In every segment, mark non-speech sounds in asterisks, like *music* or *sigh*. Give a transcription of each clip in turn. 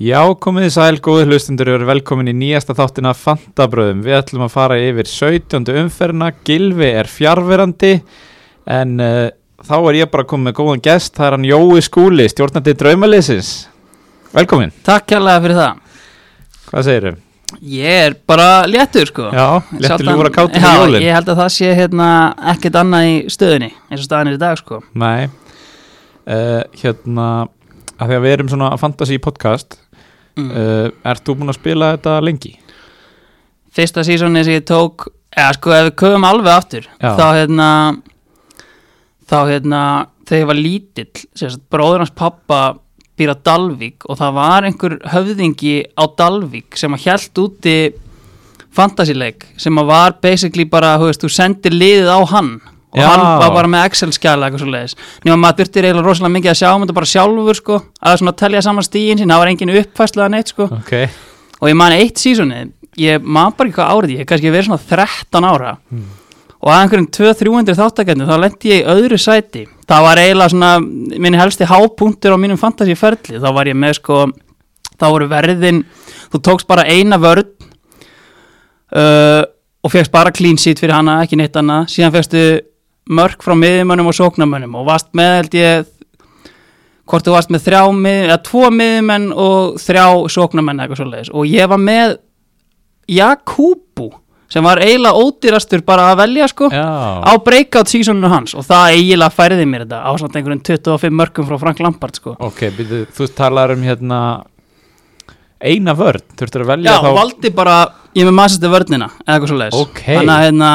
Já, komið þið sæl, góðið hlustundur og velkomin í nýjasta þáttina Fantabröðum. Við ætlum að fara yfir 17. umferna, Gilvi er fjárverandi en uh, þá er ég bara komið með góðan gest, það er hann Jói Skúli, stjórnandi Draumalysins. Velkomin, Takk hérlega fyrir það hvað segiru? Ég er bara léttur sko Já, léttur Sjaldan- ljúfur að kátur Já, með jólin. Ég held að það sé hérna ekkert annað í stöðinni eins og staðan er í dag sko Nei, uh, hérna, að því að við erum svona að fantasy podcast, mm. uh, ert þú búin að spila þetta lengi? Fyrsta sísóni sem ég tók eða sko ef við köfum alveg aftur Já. þá hérna þá hérna þegar ég var lítill sérst, bróður hans pappa býr á Dalvík og það var einhver höfðingi á Dalvík sem að hjælt úti fantasileik sem að var basically bara, þú veist, þú sendir liðið á hann og Já. hann var bara með Excel-skjala eitthvað svo leiðis, nema maður þurfti eiginlega rosalega mikið að sjá um þetta bara sjálfur sko, að svona telja saman stíðin sín, það var engin uppfæslu að neitt sko Ok, og ég man eitt sísoni ég man bara ekki hvað árið ég hef kannski verið svona 13 ára og að einhverjum 200-300 þáttakendum þá lendi ég í öðru sæti það var eiginlega svona minn helsti hápunktur á mínum fantasíferli þá var ég með sko þá voru verðin þú tókst bara eina vörð uh, og fegst bara clean sheet fyrir hana ekki neitt annað síðan fegstu mörk frá miðjumönnum og sóknarmönnum og varst með held ég hvort þú varst með þrjá mið, eða tvo miðjumenn og þrjá sóknarmenn eitthvað svoleiðis og ég var með Jakúbu sem var eiginlega ódýrastur bara að velja sko já, á breakout seasoninu hans og það eiginlega færði mér þetta á samt einhverjum 25 mörgum frá Frank Lampard sko ok, byrju, þú talar um hérna eina vörn, þurftur að velja Já, þá... valdi bara, ég er með maður sérstu vörnina eða eitthvað svoleiðis Ok. Þannig að hérna,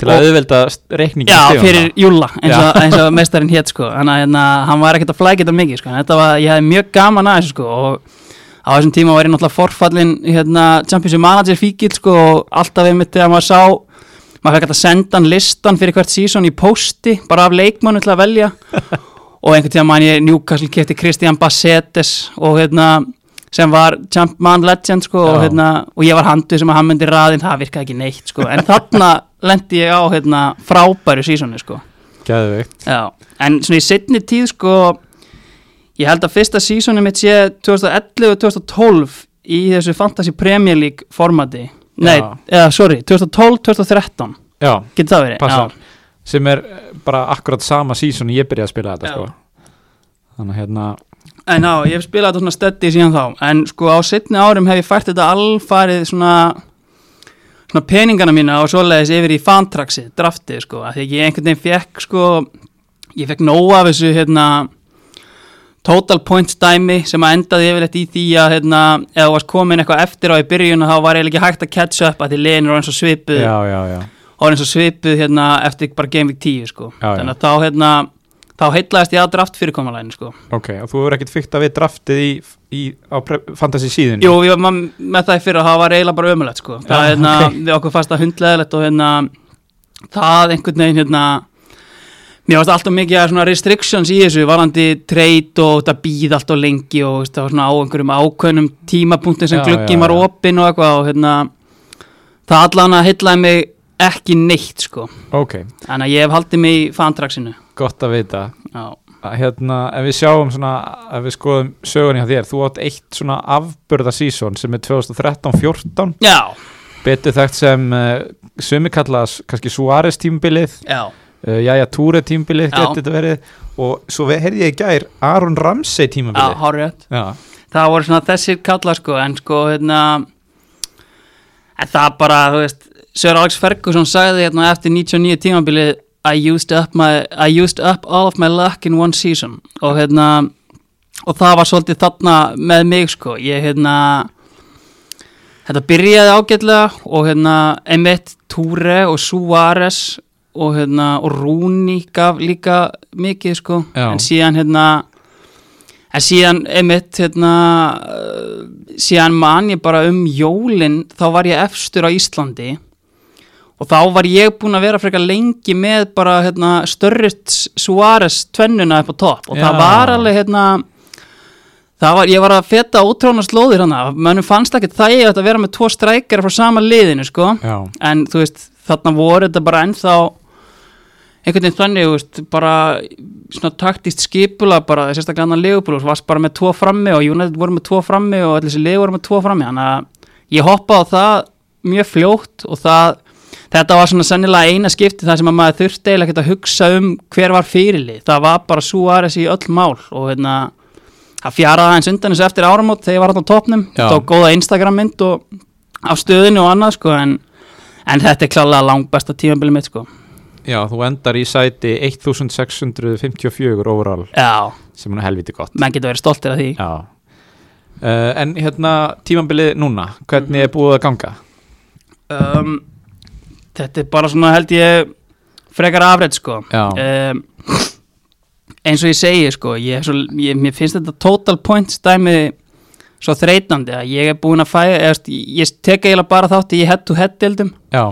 Til að auðvelda st- reikningin já, stigana. fyrir júla eins og, eins og mestarinn hétt sko Þannig að hérna, hann var ekkert að flækja þetta mikið sko en Þetta var, ég hefði mjög gaman að þessu sko og á þessum tíma var ég náttúrulega forfallin hérna, Champions League manager fíkil sko og alltaf einmitt þegar maður sá maður fekk alltaf að senda hann listan fyrir hvert sísón í pósti bara af leikmannu til að velja og einhvern tíma man ég Newcastle kefti Christian Bassetes og hérna sem var Jumpman Legend sko og, Já. hérna, og ég var handuð sem að hann myndi raðinn það virkaði ekki neitt sko en þarna lendi ég á hérna, frábæru sísoni sko Geðveikt. Já. en svona í setni tíð sko ég held að fyrsta sísoni mitt sé 2011-2012 í þessu Fantasy Premier League formati nei, Já. eða sorry 2012-2013 Já, getur það verið passar. Já. Sem er eh, bara akkurat sama sísón ég byrjaði að spila þetta, Já. sko. Þannig að hérna, En já, ég hef spilað þetta svona stöddi síðan þá En sko á setni árum hef ég fært þetta alfarið svona Svona peningana mína og svoleiðis yfir í fantraxi, draftið sko af Því að ég einhvern veginn fekk sko Ég fekk nóg af þessu hérna Total points dæmi sem að endaði yfirleitt í því að hérna Ef þú varst komin eitthvað eftir á í byrjun Þá var ég ekki hægt að catch up að því liðin eru eins og svipuð já, já, já. orðin svo svipuð hérna eftir bara Game Week 10 sko Já, já. Þannig að þá hérna Þá heitlaðist ég að draft fyrirkomalæðin sko Ok, og þú hefur ekkert fyrkt að við draftið í, í á pre- fantasy síðunni? Jú, ég var ma- með það í fyrra, það var eiginlega bara ömulegt sko. Það Já, er hérna, ok. við okkur fasta hundleðilegt og hérna, það einhvern veginn hérna, mér varst alltaf mikið að svona restrictions í þessu, varandi trade og þetta býð alltaf lengi og veist, það var svona á einhverjum ákveðnum tímapunktin sem Já, já, glugginn var já. opinn og eitthvað og hérna, það allan að heitlaði mig ekki neitt sko. Ok, Þannig að ég hef haldið mig í fantraksinu. gott að vita. Já. Að Hérna, ef við sjáum svona, ef við skoðum sögunni á þér, þú átt eitt svona afbörða sísón sem er 2013-14, Já, betur þekkt sem uh, sumi kallaðas kannski Suárez tímbilið, já, uh, Jæja Túre tímbilið Já. getur þetta verið og svo ve- heyrði ég í gær Aron Ramsey já, tímbilið hárið. já, það voru svona þessir kalla sko en sko hérna en það bara þú veist Sir Alex Ferguson sagði hérna eftir 99 tímabilið I used up my I used up all of my luck in one season og hérna og það var svolítið þarna með mig sko ég hérna þetta byrjaði ágætlega og hérna Emmett Túre og Suárez og hérna og Rúni gaf líka mikið sko Já. en síðan hérna en síðan Emmett hérna uh, síðan man ég bara um jólin þá var ég efstur á Íslandi og þá var ég búinn að vera frekar lengi með bara hérna, störrit Suárez tvennuna upp á topp og Já. það var alveg hérna það var, ég var að feta ótrána slóðir hana mönnum fannst ekki það ég að vera með tvo strækjara frá sama liðinu sko já, en þú veist þarna voru þetta bara ennþá einhvern veginn þannig, þú veist, bara svona taktist skipula bara, sérstaklega annan legupúl, varst bara með tvo frammi og United voru með tvo frammi og allir þessi legu voru með tvo frammi, þannig að ég hoppaði á það mjög fljótt og það þetta var svona sennilega eina skipti þar sem að maður þurfti eiginlega ekkert að hugsa um hver var fyrirlið, það var bara Suárez í öll mál og hérna það fjaraði hans undan þessu eftir áramót þegar ég var hann á topnum, Já. tók góða Instagram mynd og af stöðinu og annað sko en, en þetta er klálega langbesta tímabili mitt sko Já, þú endar í sæti 1654 overall Já, sem er helviti gott menn getur verið stoltir af því Já Uh, en hérna tímambilið núna, hvernig Mhm. er búið að ganga? um, Þetta er bara svona held ég frekar afrætt sko Já, um, eins og ég segi sko, ég, hef svo, ég, mér finnst þetta total points dæmi svo þreytandi að ég er búin að fæða eða, st- ég tek eiginlega bara þátt í head to head deildum já,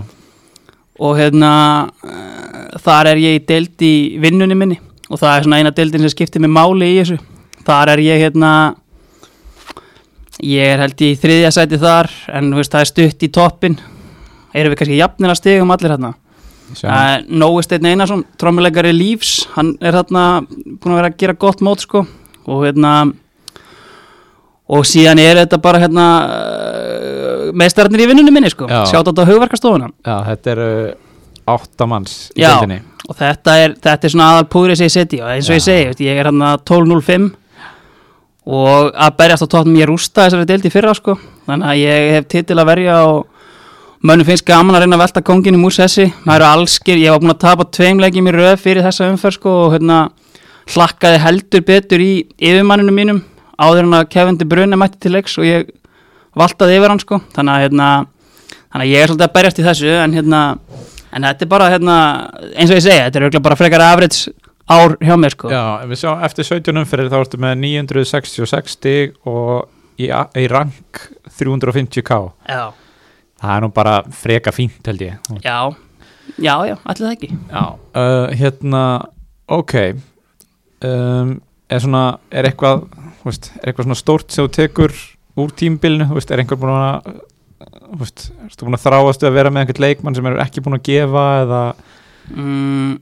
og hérna uh, þar er ég í deild í vinnunni minni og það er svona eina deildin sem skiptir mig máli í þessu þar er ég hérna ég er held ég í þriðja sæti þar en þú veist, það er stutt í toppin erum við kannski jafnir að stigum allir hérna sjá. Uh, Nói Steinn Einarsson, trommuleikari Lífs, hann er þarna búin að vera að gera gott mót sko og hérna og síðan er þetta bara hérna uh, meistararnir í vinnunni minni sko, Já. sjátt á hugverkastofuna já þetta eru átta manns í Já. deildinni og þetta er, þetta er svona aðal púrið sem ég setji og eins Já. og ég segi, veist, ég er hérna 12.05 og að berjast á tóttum ég rústa þessari deildi fyrra sko þannig að ég hef titil að verja og mönnum finnst gaman að reyna að velta kongin í múr sessi, maður eru allskir ég var búin að tapa tveim leikjum í röð fyrir þessa umferð sko og hérna hlakkaði heldur betur í yfirmanninu mínum áður en að Kevin De Bruyne mætti til leiks og ég valtaði yfir hann sko þannig að, hérna, þannig að ég er svolítið að berjast í þessu en, hérna, en þetta er bara hérna, eins og ég segi, þetta er örugglega bara frekar afrits ár hjá mér sko Já, við sjáum eftir 17 umferðir þá ertu með 966 stig og í, a- í rank 350k já, Það er nú bara freka fínt held ég já, já, já allir það ekki Já, uh, hérna, ok um, Er svona, er eitthvað, þú veist, er eitthvað svona stórt sem þú tekur úr tímbilinu, þú veist, er einhver búin að uh, þú veist, erstu búin að þráast við að vera með einhvern leikmann sem er ekki búin að gefa eða, mm,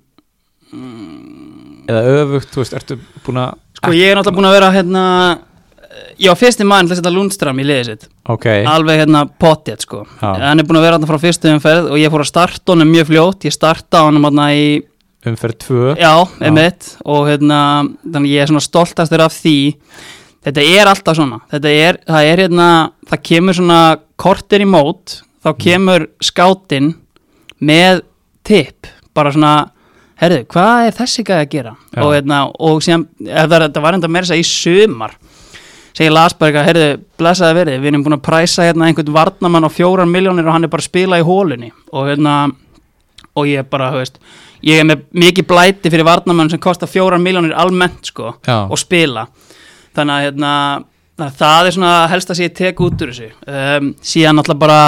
eða öfugt, þú veist, ertu búin að sko ég er náttúrulega búin að vera hérna já, fyrsti mann til að setja Lundström í liðið sitt Ok, alveg hérna pottet sko Já. hann er búin að vera hérna frá fyrstu umferð og ég fór að starta honum mjög fljótt, ég starta honum hérna í, umferð 2 já, emitt og hérna, þannig ég er svona stoltastur af því þetta er alltaf svona þetta er, það er hérna það kemur svona kortir í mót þá kemur skáttinn með tipp bara svona, herðu, hvað er þessi gæði að gera Já. og hérna, og síðan ef það, það var enda meira þess að segja í sumar segir Lasberg að, herðu, blessaði verið við erum búin að præsa hérna einhvern varnamann á fjórar miljónir og hann er bara að spila í hólunni og hérna, og ég er bara, þú veist ég er með mikið blæti fyrir varnamann sem kostar fjórar miljónir almennt sko, Já. og spila þannig að, hérna, þannig að það er svona helst að sé ég tek út úr þessu um, síðan alltaf bara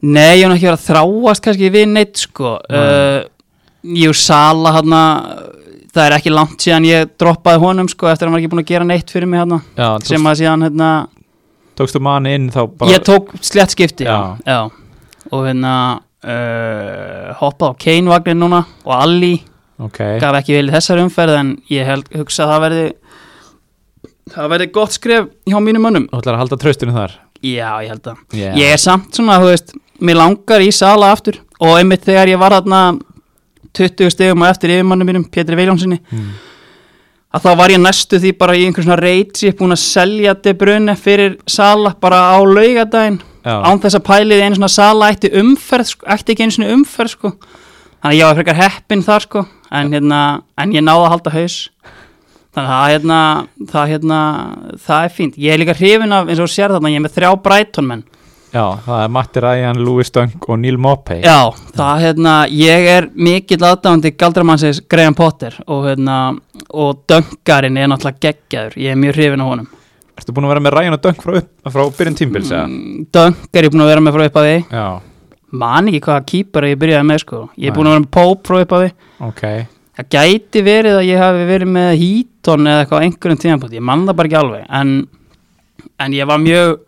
nei, ég hef nú ekki verið að þráast kannski við neitt sko uh, jú, Sala hann það er ekki langt síðan ég droppaði honum sko eftir að hann var ekki búin að gera neitt fyrir mig hann Já, tókst, sem að síðan hérna tókstu manni inn þá bara ég tók slett skipti Já. og hérna uh, hoppað á Kane-vagnin núna og Alli Ok, gaf ekki vel í þessar umferð en ég held, hugsa að það verði það verði gott skref hjá mínum mönnum Þú ætlar að halda traustinu þar já ég held að ég er samt svona, þú veist, mér langar í sala aftur og einmitt þegar ég var þarna 20 stegum og eftir yfirmannu mínum Pétri Viljónssoni Mm. að þá var ég næstu því bara í einhvern svona reyts ég er búin að selja De Bruyne fyrir sala bara á laugadaginn Já, án þess að pælið einu svona sala ætti umferð, sko, ætti ekki einu svona umferð sko. þannig að ég var frekar heppin þar sko. en, hérna, en ég náði að halda haus þannig að það, hérna, það, hérna, það er fínt ég er líka hrifin af, eins og þú sér þarna, ég er með þrjá brætonmenn já, það er Matti Ryan, Louis Dunk og Neil Maupay Já, það hérna, ég er mikill aðdáðandi galdramannsins Graham Potter og hérna, og döngarinn er náttúrulega geggjaður, ég er mjög hrifin á honum Ertu búin að vera með Ryan og Dunk frá, upp- frá byrjun tímbils? Mm. Döng er ég búin að vera með frá uppafi Já, man ekki hvaða kýpar ég byrjaði með sko ég er Nei. búin að vera með Pope frá uppafi ok það gæti verið að ég hafi verið með Heaton eða eitthvað á einhverjum tíðanbúti ég man það bara ekki alveg en, en ég var mjög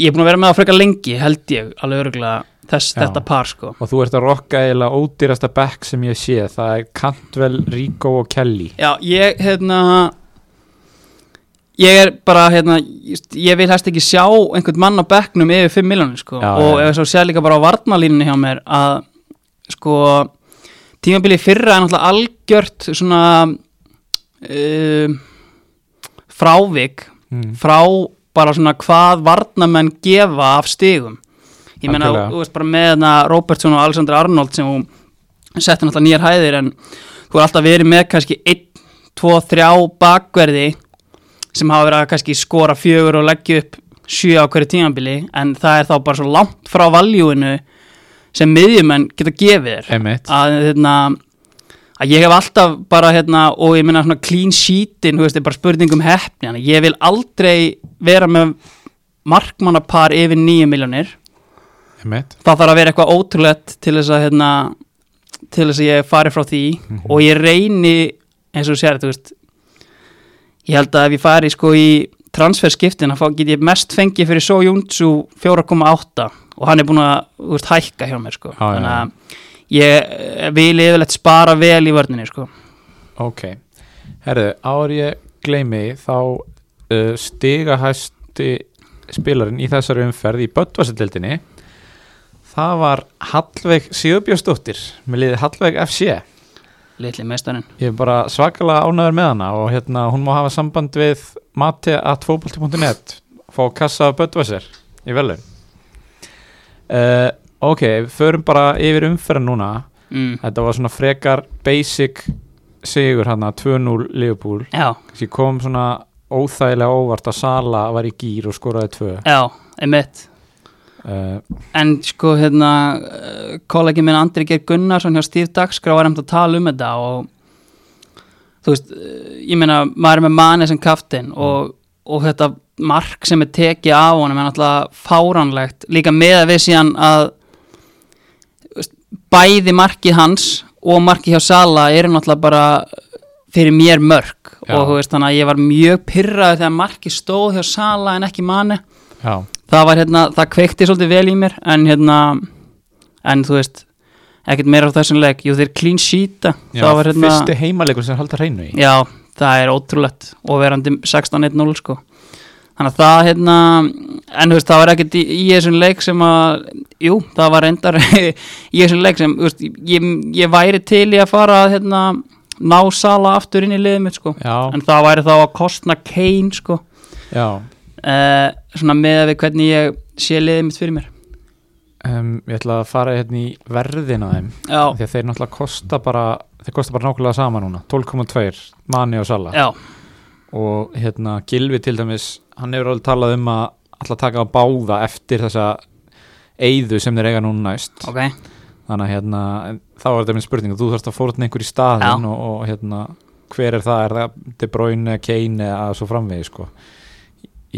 ég er búin að vera með það frekar lengi held ég alveg örgulega þess, Já. þetta par sko og þú ert að rokka eiginlega ódýrasta back sem ég sé, það er Cantwell, Rico og Kelly Já, ég, hérna Ég er bara, hérna just- Ég vil hægt ekki sjá einhvern mann á bekknum yfir 5 miljónir, sko Já, Og já. ef svo sé líka bara á varnalínunni hjá mér að, sko Tímabili fyrra er náttúrulega algjört svona um, frávik mm. frá bara svona hvað varnamenn gefa af stigum ég meina, Algjörlega. þú veist bara með hana Robertson og Alexander Arnold sem hún setti náttúrulega nýjar hæðir en þú er alltaf verið með kannski 1, 2, 3 bakverði sem hafa verið að kannski skora fjögur og leggja upp sjö á hverju tímanbili en það er þá bara svo langt frá valjúinu sem miðjumenn geta gefið þér Einmitt, að, hérna, að ég hef alltaf bara hérna, og ég meina svona clean sheetin, þú veist, er bara spurning um heppni þannig að ég vil aldrei vera með markmannapar yfir 9 miljónir einmitt það þarf að vera eitthvað ótrúlegt til þess að hérna, til þess að ég fari frá því Mhm. og ég reyni eins og þú sér, þú veist ég held að ef ég fari sko í transferskiptin, þá get ég mest fengið fyrir So Júntsu 4,8 og hann er búin að, þú veist, hækka hjá mér sko, Já, já, já. að ég eh, vil yfirleitt spara vel í vörninni sko Ok, herðu, áður ég gleymi því, þá uh, stiga hæsti spilarinn í þessari umferð í Böttvarsildildinni það var Hallveig Sigurbjörnsdóttir með liðið Hallveig FC litli meistarinn, Ég er bara svakalega ánæður með hana og hérna hún má hafa samband við mati.fóbalti.net fá kassa af Böttvæsir í velum uh, Ok, förum bara yfir umferðin núna mm. Þetta var svona frekar basic sigur hana 2-0 Liverpool já, Þessi kom svona óþægilega óvart að Sala var í gýr og skoraði tvö já, einmitt uh, en sko hérna eh, kollegi minn Andri Geir Gunnarsson hjá Steve Dagskrá var hefnd að tala um þetta og þú veist, eh, ég meina maður er með manið sem kaftin og, og þetta mark sem er tekið af honum er náttúrulega fáránlegt líka með að við síðan að þú veist, bæði markið hans og markið hjá Sala eru náttúrulega bara fyrir mér mörg Já. og þú veist þannig að ég var mjög pyrraður þegar markið stóð hjá Sala en ekki manið Já, það var hérna, það kveikti svolítið vel í mér en hérna en þú veist, ekkert meira á þessum leik jú þeir clean sheeta já það var hérna, fyrsti heimalegur sem halda hreinu í já, það er ótrúlegt og verandi 16-1-0 sko þannig að það hérna en þú veist, það var ekkert í, í þessum leik sem að, jú, það var reyndar *laughs* í þessum leik sem, þú veist ég, ég væri til í að fara að hérna ná sala aftur inn í liðið mitt sko Já, en það væri þá að kostna Kane sko já uh, svona með við hvernig ég sé liðið mitt fyrir mér Um, ég ætla að fara hérna í verðina þeim Já, því að þeir náttúrulega kosta bara þeir kosta bara nákvæmlega sama núna 12,2 manni og sala já, og hérna Gilvi til dæmis hann hefur alveg talað um að alltaf taka á báða eftir þessa eyðu sem þeir eiga núna næst ok þannig að hérna en þá er þetta minn spurning þú þarfst að fórna einhver í staðin Já. og, og hérna hver er það, er það De Bruyne, Kane eða svo framvegi sko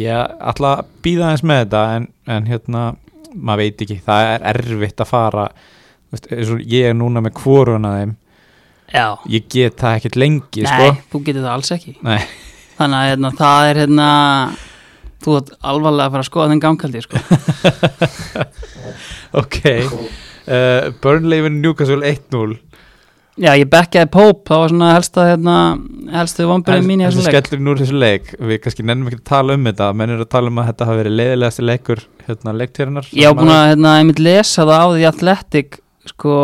ég ætla að býða eins með þetta en, en hérna maður veit ekki, það er erfitt að fara Þú veist, eins og ég er núna með kvoruna þeim Já, ég get það ekkert lengi nei, sko. þú getur það alls ekki Nei. Þannig að hérna, það er hérna Þú ert alvarlega að fara að skoða þenn *laughs* gamkaldi sko. *laughs* ok uh, Burnley við Newcastle 1-0 Já, ég bekkaði Pope, það var svona helsta hérna, helstu Hel- vombriði mín í þessum þessi leik skellur núr þessu leik við kannski nennum ekki að tala um þetta menn eru að tala um að þetta hafi verið leiðilegasti leikur hérna leiktýrinar Ég á búin að hérna, einmitt lesa það á því Athletic sko,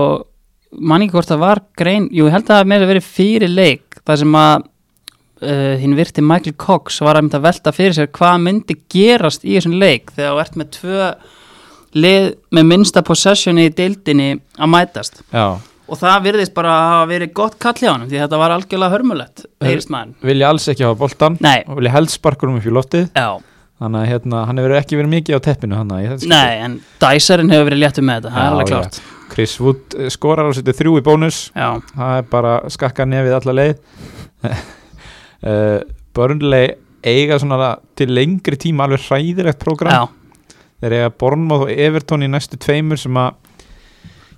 manni hvort það var grein, jú, ég held að það hafi meira verið fyrir leik, það sem að uh, hinn virti Michael Cox var að mynda að velta fyrir sér hvað myndi gerast í þessum leik þegar þú ert með tvö lið með minnsta possessioni í deildinni að mætast já, og það virðist bara að hafa verið gott kall hjá hann því þetta var algjörlega hörmulegt, heyrist maður vilja alls ekki hafa boltan Nei, og vilja helst sparkunum upp í loftið já, þannig að hérna, hann hefur ekki verið mikið á teppinu hann að ég þetta skil. nei, en Dyserinn hefur verið léttur með þetta, Já, það er alveg já. klárt Chris Wood eh, skorar og setur þrjú í bónus Já, það er bara skakka nefið alla leið *laughs* uh, Burnley eiga svona til lengri tíma alveg hræðilegt prógram já, þeir eiga Bornmoth og Everton í næstu tveimur sem að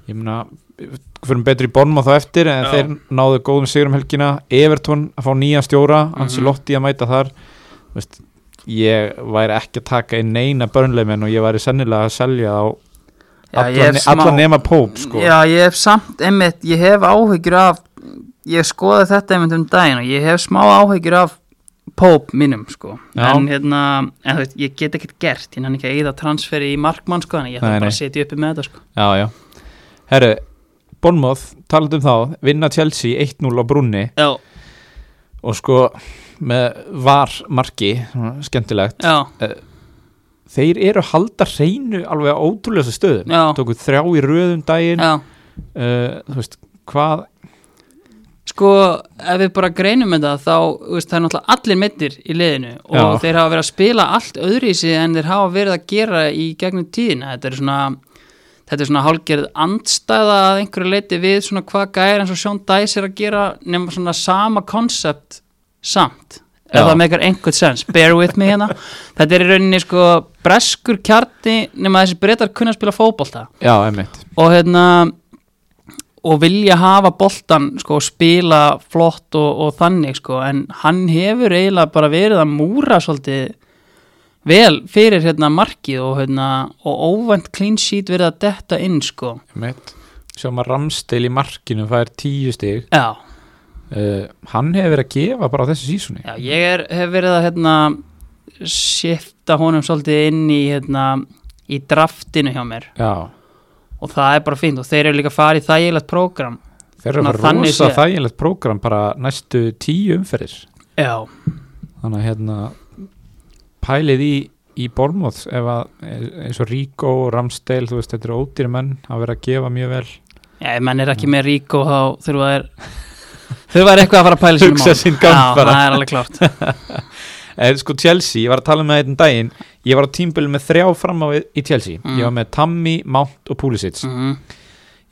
ég meina, við fyrir betri í Bornmoth á eftir en Já. þeir náðu góðum sigur um helgina Everton að fá nýja stjóra Ancelotti að mæta þar Þú Veist, ég væri ekki að taka inn neina börnleimenn og ég væri sennilega að selja á Já, ég alla, er ne smá- alla nema Pope sko Já, ég hef samt, einmitt, ég hef áhyggjur af ég skoði þetta einmitt um daginn og ég hef smá áhyggjur af Pope mínum, sko Já. en hérna, en þú veist, ég get ekkert gert ég hann ekki að eyða transferi í markmann, sko þannig ég Nei, þarf bara nei. að setja uppi með þetta, sko já, já. Herru, Bonmoth, talandum þá vinna Chelsea 1-0 á brunni Já, og sko með var marki svona skemmtilegt já, þeir eru að halda hreinu alveg á ótrúlega stöðum Já. tóku þrjá í röðum daginn uh, já þú veist, hvað Sko, ef við bara greinum þetta þá, þú veist, það er náttúrulega allir meittir í liðinu og Já. þeir hafa verið að spila allt öðru í sig en þeir hafa verið að gera í gegnum tíðina. Þetta er svona þetta er svona hálgerð andstæða að einhverju leiti við svona hvað gæri eins og Sjón Dæs er að gera nema svona sama koncept samt ef Já. það meikar einhvern sens, bear with me hérna þetta er í rauninni sko breskur kjarni nema þessi breytar kunna að spila fótbolta já, emmitt og hérna og vilja hafa boltan sko, og spila flott og, og þannig sko, en hann hefur eiginlega bara verið að múra svolítið vel fyrir hérna markið og, hérna, og óvænt clean sheet verið að detta inn sko. sjáum að Ramstil í markinu fær tíu stig já, uh, hann hefur verið að gefa bara á þessu sísunni já, ég er, hef verið að hérna shifta honum svolítið inn í hérna í draftinu hjá mér já, og það er bara fínt og þeir eru líka farið í þægilegt prógram þeir eru Ná, að fara þannig rosa séð. þægilegt prógram bara næstu tíu umferðir já, þannig að hérna pælið í, í Bormóð ef að eins og Ríkó og Ramsdale þú veist þetta eru ódýri menn að vera að gefa mjög vel Já, ef menn er ekki með rík og þá þurfa þær þurfa þær eitthvað að fara að pæla sínum Hugsa mál. sinn gang Já, bara. það er alveg klart *laughs* en sko Chelsea, ég var að tala með þetta um daginn ég var á tímbilu með þrjá fram á við í Chelsea Mm. ég var með Tammy, Mount og Pulisic mm,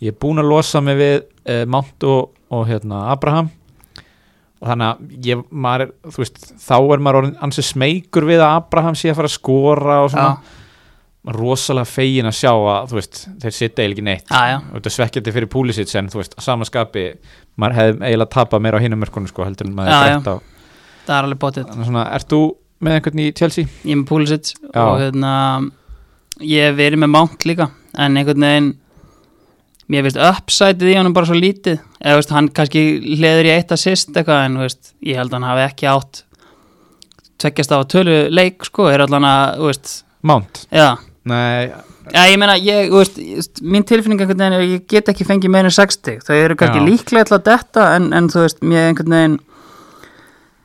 ég er búin að losa mig við uh, Mount og, og hérna Abraham og þannig að ég, maður, er- þú veist, þá er maður orðin ansið smeykur við að Abraham sé að fara að skora og já, svona rosalega fegin að sjá að þú veist, þeir sitja eiginlega ekki neitt já, já, og þetta svekkjandi fyrir Pulisic en þú veist, að sama skapi maður hefði eiginlega tapað meira á hinum mörkunum sko, heldur en maður Já, er já. grætt á það er alveg bótið þannig svona, ert þú með einhvern í Chelsea? Ég er með Pulisic Já. og hérna ég hef verið með Mount líka en einhvern veginn mér finnst uppsætið í honum bara svo lítið eða veist, hann kannski hleður í eitt assist eitthvað en þú veist, ég held að hann hafi ekki átt tveggjast á tölu leik sko, er allan að, þú veist, Mount? já Nei, Já, ég meina, ég, þú veist, ég- st- mín tilfinning einhvern veginn er að ég get ekki fengið meira en 60 þau eru kannski Já. líklega til að detta en, en þú veist, mér einhvern veginn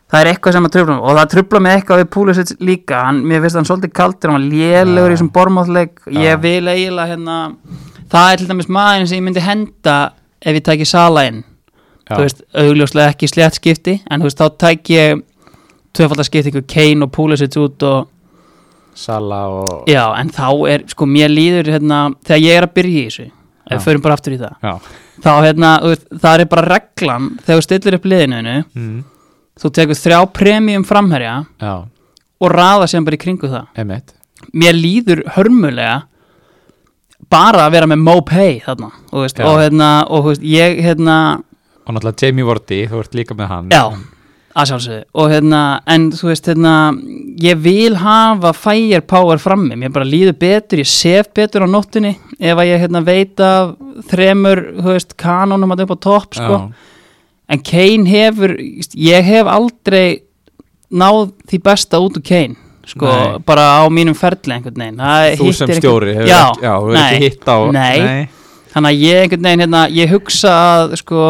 það er eitthvað sem að tröfla mig og það tröfla mig eitthvað við Púlisits líka hann, mér finnst hann svolítið kaldur, hann var lélegur Já. í þessum bormáðleik, Já. ég vil eiginlega hérna, það er til dæmis maðurinn sem ég myndi henda ef ég tæki sala inn já, þú veist, augljóslega ekki slétt skipti en þú veist, þá tæki ég tvöfaldarskipti ykkur Kane og Púlisits út og Sala og Já, en þá er, sko, mér líður hérna, þegar ég er að byrja í þessu ef Já. við förum bara aftur í það já. þá hérna, þú veist, það er bara reglan þegar þú stillir upp liðinu Mm, þú tekur þrjá premium framherja já, og raða sér bara í kringu það emitt mér líður hörmulega bara að vera með MoPay þarna, þú veist, Já. og hérna og þú veist, ég hérna, og náttúrulega Jamie Vorty, þú ert líka með hann já að sjálfsögðu, og hérna, en þú veist hérna, ég vil hafa firepower frammi, mér bara líður betur ég sef betur á nóttunni ef að ég hérna veit af þremur þú veist, kanónum að upp á topp sko. en Kane hefur ég hef aldrei náð því besta út úr Kane sko, Nei. bara á mínum ferli einhvern veginn Það þú eh, hittir sem einhvern- stjóri hefur já, ekki, já, hefur ekki nei, hitt á nei, Þannig að ég einhvern veginn, hérna, ég hugsa að sko,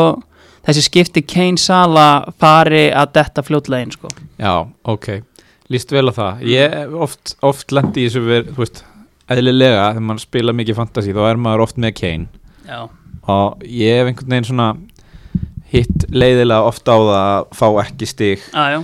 þessi skipti Kane Sala fari að detta fljótlegin sko. Já, ok, líst vel á það Ég hef oft, oft lendi í þessu verið, þú veist, eðlilega þegar maður spila mikið fantasy, þá er maður oft með Kane Já, og ég hef einhvern veginn svona hitt leiðilega oft á það að fá ekki stig aðjó,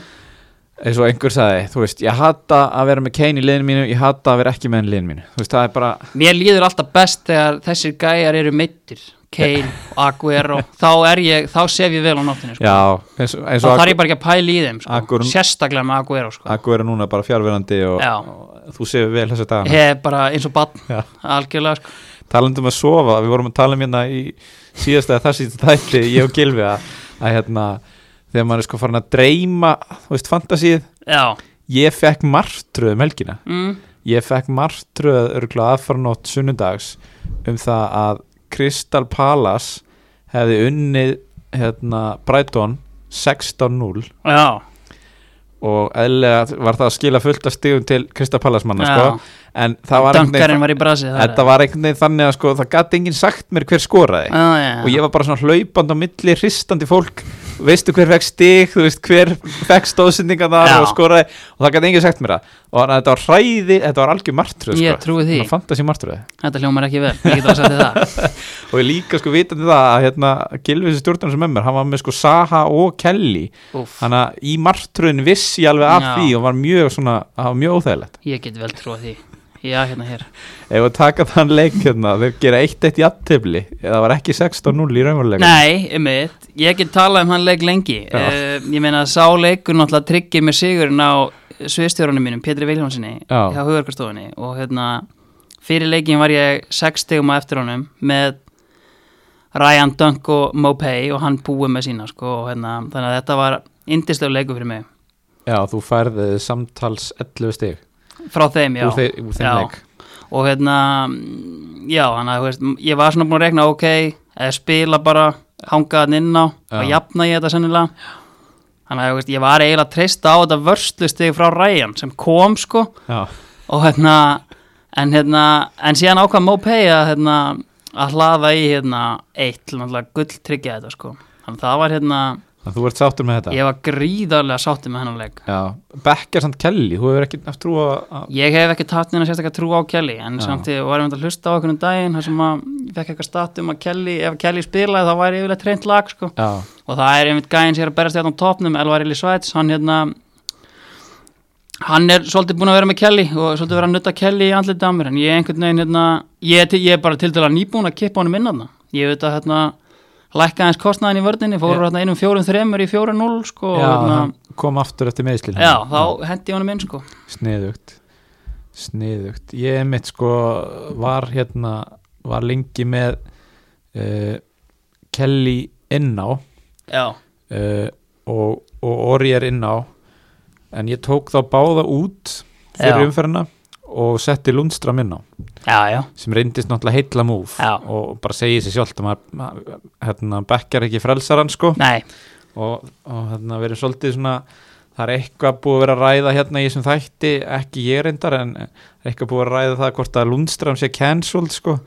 eins og einhver sagði, þú veist, ég hata að vera með Kane í liðinu mínu, ég hata að vera ekki með hann í liðinu mínu, þú veist, það er bara mér líður alltaf best þegar þessir gæjar eru meittir *laughs* Kane og Aguero þá er ég, þá sef ég vel á nóttinu sko. já, eins, og- eins þá og þarf ég bara ekki að pæla í þeim sko. Aguero- sérstaklega með Aguero sko. Akku er núna bara fjárverandi og, Já. og þú séu vel þess að dagana ég er bara eins og bann Já. algjörlega sko. talandum að sofa, við vorum að tala um hérna í síðasta eða þar síðasta þætti ég og Gilvi að, að hérna þegar maður er sko farin að dreyma þú veist, fantasíð, já, ég fekk martröð um helgina, mm, ég fekk martröð örgulega aðfarnótt sunnudags um það að Crystal Palace hefði unnið hérna, Brighton 16-0 já, og eðlilega var það að skila fullt af stigum til Crystal Palace manna sko. en það var einhvern Dankarinn veginn var í brasi þetta var einhvern veginn þannig að sko, það gæti enginn sagt mér hver skoraði Ah. og ég var bara svona hlaupand á milli hristandi fólk veistu hver fekk stig, þú veist hver fekk stóðsendinga þar Já. og skoraði og það gæti enginn sagt mér það og þannig að þetta var hræði, þetta var algjör martröð Ég sko. trúi því. Svona fantasy martröð Þetta hljómar ekki vel, ég get að setja *laughs* það og ég líka sko vitandi það að hérna, Gilvis stjórnarnar sem er mér, hann var með sko Saha og Kelly, Úf, þannig að í martröðin vissi ég alveg af Já. því og var mjög svona, það var mjög óþægilegt Ég get vel trúa því Já, hérna hér ef við taka þann leik hérna, þeir gera eitt eitt í aftefli það var ekki 16-0 í raunveruleikum Nei, einmitt, ég get talað um hann leik lengi Já. uh, Ég meina að sá leikur náttúrulega tryggir mér sigurinn á sviðstjórunum mínum, Pétri Viljónssoni Já. hjá hugverkastofunni og hérna fyrir leikin var ég sex stegum á eftir honum með Ryan Dunk og Mopay og hann búið með sína sko, og hérna, þannig að þetta var indislega leikur fyrir mig já, þú færði samtals 11 stig frá þeim, já úr, þeir, úr þeim Já. leik og hérna mm, já, hann að, þú veist, ég var svona búin að rekna ok, eða spila bara hanga hann inn á og Já. jafna ég þetta sennilega hann að, þú veist, ég var eiginlega að treysta á þetta vörslustegi frá Ryan sem kom sko Já, og hérna en hérna, en síðan ákvað Mopay að hérna, að hlaða í hérna eitt, til náttúrulega gulltryggja þetta sko, þannig að það var hérna þannig þú ert sáttur með þetta ég var gríðarlega sátti með hennan leik Já, Becker samt Kelly, þú hefur ekki haft trú að að- Ég hef ekki tatt neina sérstaklega trú á Kelly en Já. samt ég var einmitt að hlusta á okkur um daginn þar sem að ég fekk eitthvað statt um að Kelly ef Kelly spilaði þá væri yfirlega treynt lag sko. Já, og það er einmitt gæinn sér að berast hérna á topnum Elvar Eli Sveits, hann hérna hann er svolítið búinn að vera með Kelly og svolítið vera að nutta Kelly í andlitið á mér en ég er einhvern veginn hérna ég, er til- ég er bara til dæla nýbúinn að kippa honum inn þarna ég veit að hérna lækka hans kostnaðin í vördinni, fóru Já. hérna einum fjórum þremur í fjórum núl sko, og já hérna, hann kom aftur eftir meðslil já, þá hendi ég honum inn sko. Sniðugt, sniðugt Ég mitt sko var hérna, var lengi með uh, Kelly inn á já, uh, og, og Ori er inn á en ég tók þá báða út Já. fyrir umferðina og setti Lundstram inn á já, já sem reyndist náttúrulega heilla múf Já. og bara segi sér sjálft að maður- maður hérna, bekkar ekki frelsaran sko Nei, og, og hérna verið svolítið svona það er eitthvað búið að vera að ræða hérna í þessum þætti, ekki ég reyndar en eitthvað búið að ræða það hvort að Lundström sé cancelled sko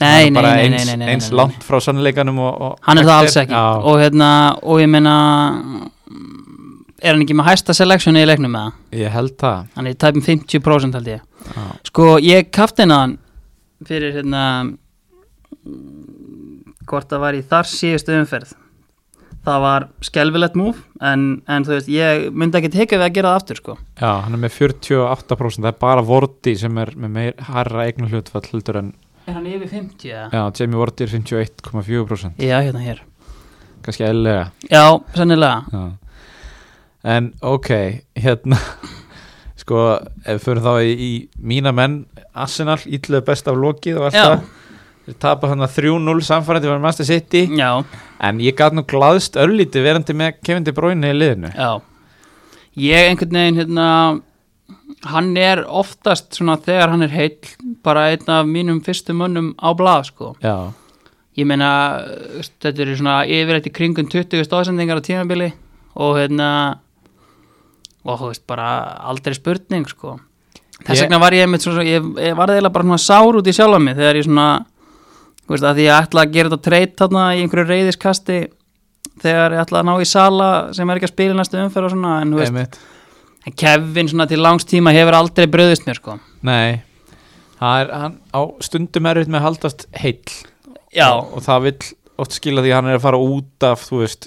nei, Hann er nei, bara nei, eins, nei, nei, nei, eins nei, nei. langt frá sannleikanum og, og Hann er það alls hægt ekki Já. og, hérna, og ég meina Er hann ekki með hæsta selection í leiknum með það? ég held það Hann er í tæpum 50% held ég Já. Sko, ég kaftin hann Fyrir hérna mm, Hvort það var í þar síðustu umferð Það var skelfilegt múf en, en þú veist, ég myndi ekki teka við að gera það aftur sko. Já, hann er með 48% það er bara Vorti sem er með meir harra eignu hlutfall heldur en Er hann yfir 50? Ja? já, Jamie Vorti er 51,4% Já, hérna hér kannski eðlega Já, sennilega Já. En ok, hérna *laughs* sko, ef við fyrir þá í, í mína menn, Arsenal ítluðu best af lokið og allt Já. það þeir tapa hann 3-0 samfærandi var Master City, Já, en ég gat nú glaðst örlítið verandi með Kevin De Bruyne í liðinu Já, ég einhvern veginn hérna, hann er oftast svona þegar hann er heill bara einn af mínum fyrstu mönnum á blað sko. Já, Ég meina eh, þetta eru svona yfirleitt í kringum 20 stóðsendingar á tímabili og hérna og þú veist bara aldrei spurning sko. Þess Ég- vegna var ég einmitt svona, ég, ég var eiginlega bara svona sár út í sjálfa mig þegar ég svona, þú veist, að því ég ætla að gera þetta treyt þarna í einhverju reyðiskasti þegar ég ætla að ná í sala sem er ekki að spila í næstu umferð og svona, en þú veist, einmitt en Kevin svona til langs tíma hefur aldrei bröðist mér sko. Nei, það er hann á stundum erfitt með að haldast heill og, og það vill oft skila því að hann er að fara út af, þú veist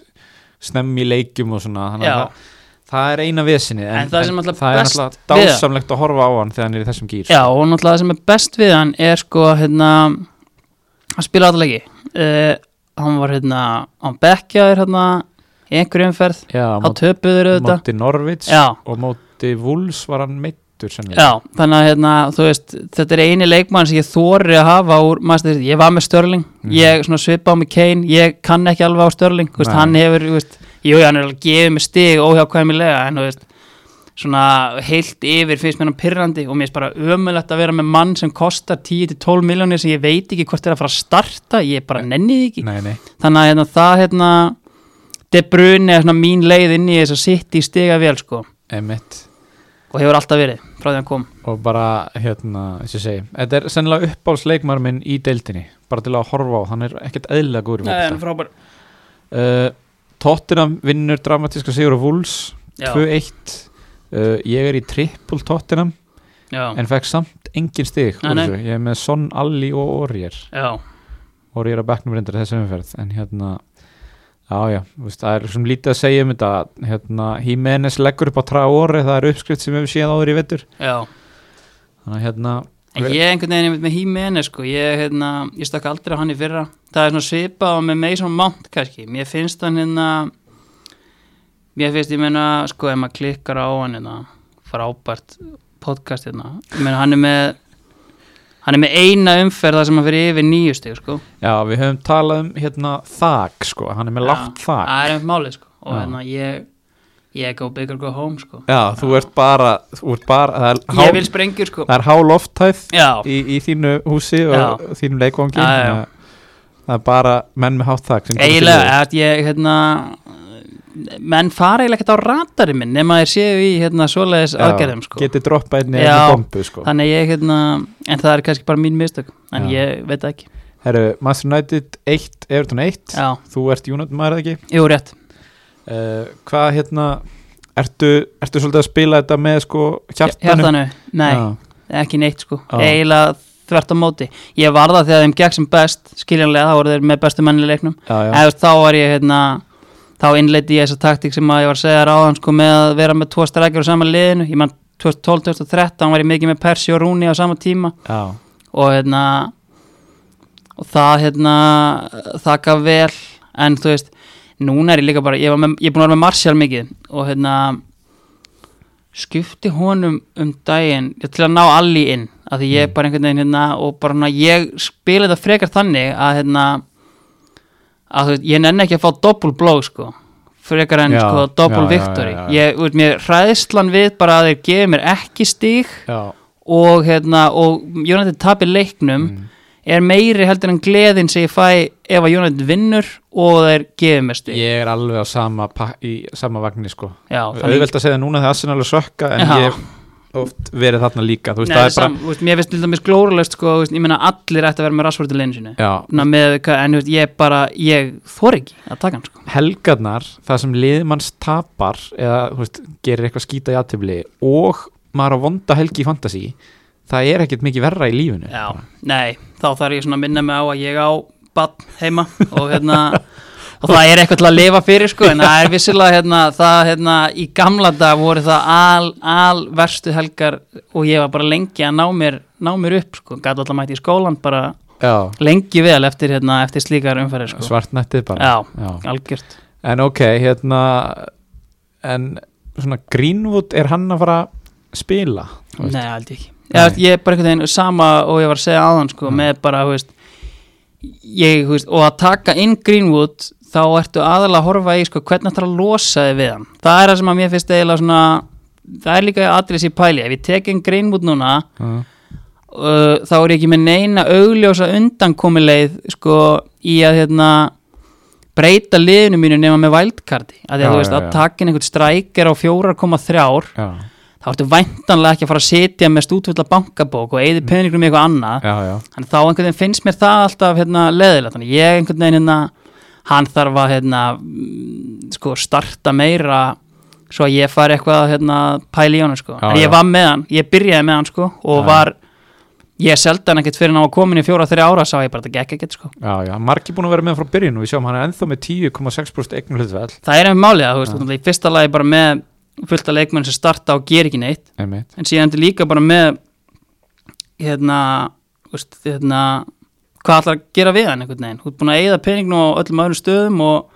snemmi í leikjum og svona þannig að Já. það, það er eina vesinni en, En það sem alltaf það er best alltaf við það- dásamlegt að horfa á hann þegar hann er í þessum gýr Já, og náttúrulega það sem er best við hann er sko hérna hann spila alltaf leiki uh, hann var hérna, hann bekkjaður hérna í einhverju umferð já á móti, töpuður auðvitað móti Norvits já, og móti Wools var hann meittur sennilega já, þannig að hérna, þú veist þetta er eini leikmann sem ég þóri að hafa úr maður styrst, ég var með Störling Mhm. ég svona svipa á mig Kane, ég kann ekki alveg á Störling, þú veist, Nei. hann hefur, þú veist jú, hann er alveg gefið mig stig óhjákvæmilega en þú veist svona heilt yfir finnst mér hann pyrrandi og mér finnst bara ömulegt að vera með mann sem kostar 10-12 miljónir sem ég veit ekki hvort er að fara að starta ég bara nenni því ekki Nei, nei þannig að hérna, það hérna De Bruyne er svona mín leið inn í þess að sitt í stiga vel sko Emitt og hefur alltaf verið frá því hann kom Og bara, hérna, eins og ég segi Þetta er sennilega uppáhalsleikmar minn í deildinni Bara til að horfa á, hann er ekkert eðlilega góður í fótbolta. frábær uh, Tottenham vinnur dramatíska sigur á Wolves 2-1 uh, Ég er í triple Tottenham já, En fekk samt engin stig úr Nei, nei. þessu. Ég er með Son, Ali og Orger já, Orger að bekknum reyndar í þessu umferð En hérna Já, já, þú veist, það er svona lítið að segja um þetta hérna, Jimenez leggur upp á Traore það er uppskrift sem við hefum séð áður í vettur já þannig að hérna, En ég einhvern veginn einmitt með Hímeni sko, ég, hérna, ég stakk aldrei á hann í fyrra það er svona svipað og með Mason Mount kannski, mér finnst hann hérna mér finnst, ég meina sko, ef maður klikkar á hann hérna frábært podcast hérna ég meina hann er með hann er með eina umferð þar sem hann fyrir yfir nýju stig sko, já, við höfum talað um hérna þak, sko, hann er með Já. lágt þak það er einmitt málið sko og Já. hérna ég ég go big or go home sko já, þú ert bara, þú ert bara það er ég hál, vil sprengjur sko, það er hál lofthæð já, í, í þínu húsi og Já. þínum leikvangi Já, já, já. þannig að það er bara menn með hátt þak sem komast í eiginlega, liðið. eða ég hérna menn fara eiginlega ekkert á ratari minn nema þeir séu í hérna svoleiðis Já, aðgerðum sko. geti droppað einni Já. einni bombu sko. þannig ég hérna, en það er kannski bara mín mistök en Já. ég veit það ekki Herru, Master United 1, Everton 1 Já, þú ert United maður eða ekki jú rétt uh, hvað hérna ertu, ertu svolítið að spila þetta með sko hjartanum Hjartanu, nei, Já. ekki neitt sko Já. eiginlega þvert á móti ég var það þegar þeim gekk sem best skiljanlega, þá voru þeir með bestu menni í leiknum já, já. eða þá var ég hérna þá innleiti ég þessa taktík sem að ég var að segja ráðan sko með að vera með tvo strækjur á sama liðinu, ég mann 2012-2013 var ég mikið með Persi og Rúni á sama tíma Já. og hérna og það hérna það gaf vel en þú veist, núna er ég líka bara ég, var með, ég er búin að vera með Martial mikið og hérna skipti honum um daginn ég, til að ná allir inn að því Mm. ég bara einhvern veginn hérna og bara hérna ég spila þetta frekar þannig að hérna að þú veist, ég nenni ekki að fá doppul blóð sko frekar en Já, sko já, doppul já, victory já, já. ég, þú veist, mér hræðslan við bara að þeir gefi mér ekki stík Já. og hérna og United tapir leiknum Mm. er meiri heldur en gleðin sem ég fæ ef að United vinnur og þeir gefið mér stík Ég er alveg á sama, pak- í sama vagni sko já, þannig, auðvelt að segja núna þegar Arsenal er sökka en Já. ég hef oft verið þarna líka þú veist Nei, það er það bara sam, úst, mér finnst til dæmis glórulegst sko, úst, ég meina allir ætti að vera með Rashford í leginu sinu já, Ná, með, hvað- en úst, ég bara, ég þor ekki að taka hann sko helgarnar það sem liðmanns tapar eða þú veist, gerir eitthvað skýta í aðtöfli og maður á vonda helgi í fantasy það er ekkert mikið verra í lífinu já, nei, þá þarf ég svona að minna mig á að ég á bann heima og hérna og það er eitthvað til að lifa fyrir sko en það er vissilega hérna, það hérna í gamla dag voru það al, al verstu helgar og ég var bara lengi að ná mér, ná mér upp sko, gæti alltaf mæti í skólan bara Já, lengi vel eftir, hérna, eftir slíkar umfæri sko svartnættið bara Já, Já. algjört en ok, hérna en svona Greenwood er hann að fara að spila Þú veist, Nei, aldrei ekki Nei. Ég, ég er bara einhvern veginn sama og ég var að segja aðan sko, Mm. með bara, hú veist ég, hú veist, og að taka inn Greenwood þá ertu aðalega að horfa í sko, hvernig ætlar að losa þig við hann það er það sem að mér finnst eiginlega svona það er líka aðrið sér pæli ef ég tek inn Greenwood núna já. uh, þá er ég ekki með neina augljósa undankomuleið sko, í að hérna, breyta liðinu mínu nema með vældkarti að, því Já, að þú veist já, að já. taka inn einhvern strækir á 4,3 Já. þá ertu væntanlega ekki að fara að sitja með stútfulla bankabók og eigði peningum í eitthvað annað Mm. Já, já. en þá einhvern veginn finnst mér það alltaf hérna, leðilegt, þannig ég einhvern veginn hérna, hann þarf að hérna, mm, sko, starta meira svo að ég fari eitthvað að hérna, pæla í honum sko. Já, en ég já. var með hann, ég byrjaði með hann sko, og Já. var, ég seldi hann ekkert fyrir hann á að komin í fjóra, þrjá ára sá ég bara þetta gekk ekkert sko. Já, já, margi búin að vera með frá byrjun og við sjáum hann er ennþá með 10,6% eignu hlutveld það er einhver málið að þú veist, náttúrulega í fyrsta lagi bara með fullt af leikmenn sem starta og ger ekki neitt einmitt, en síðan þetta er líka bara með hérna, úst, hérna hvað ætlar að gera við hann einhvern veginn, þú ert búin að eigða peningnu á öllum öðrum stöðum og,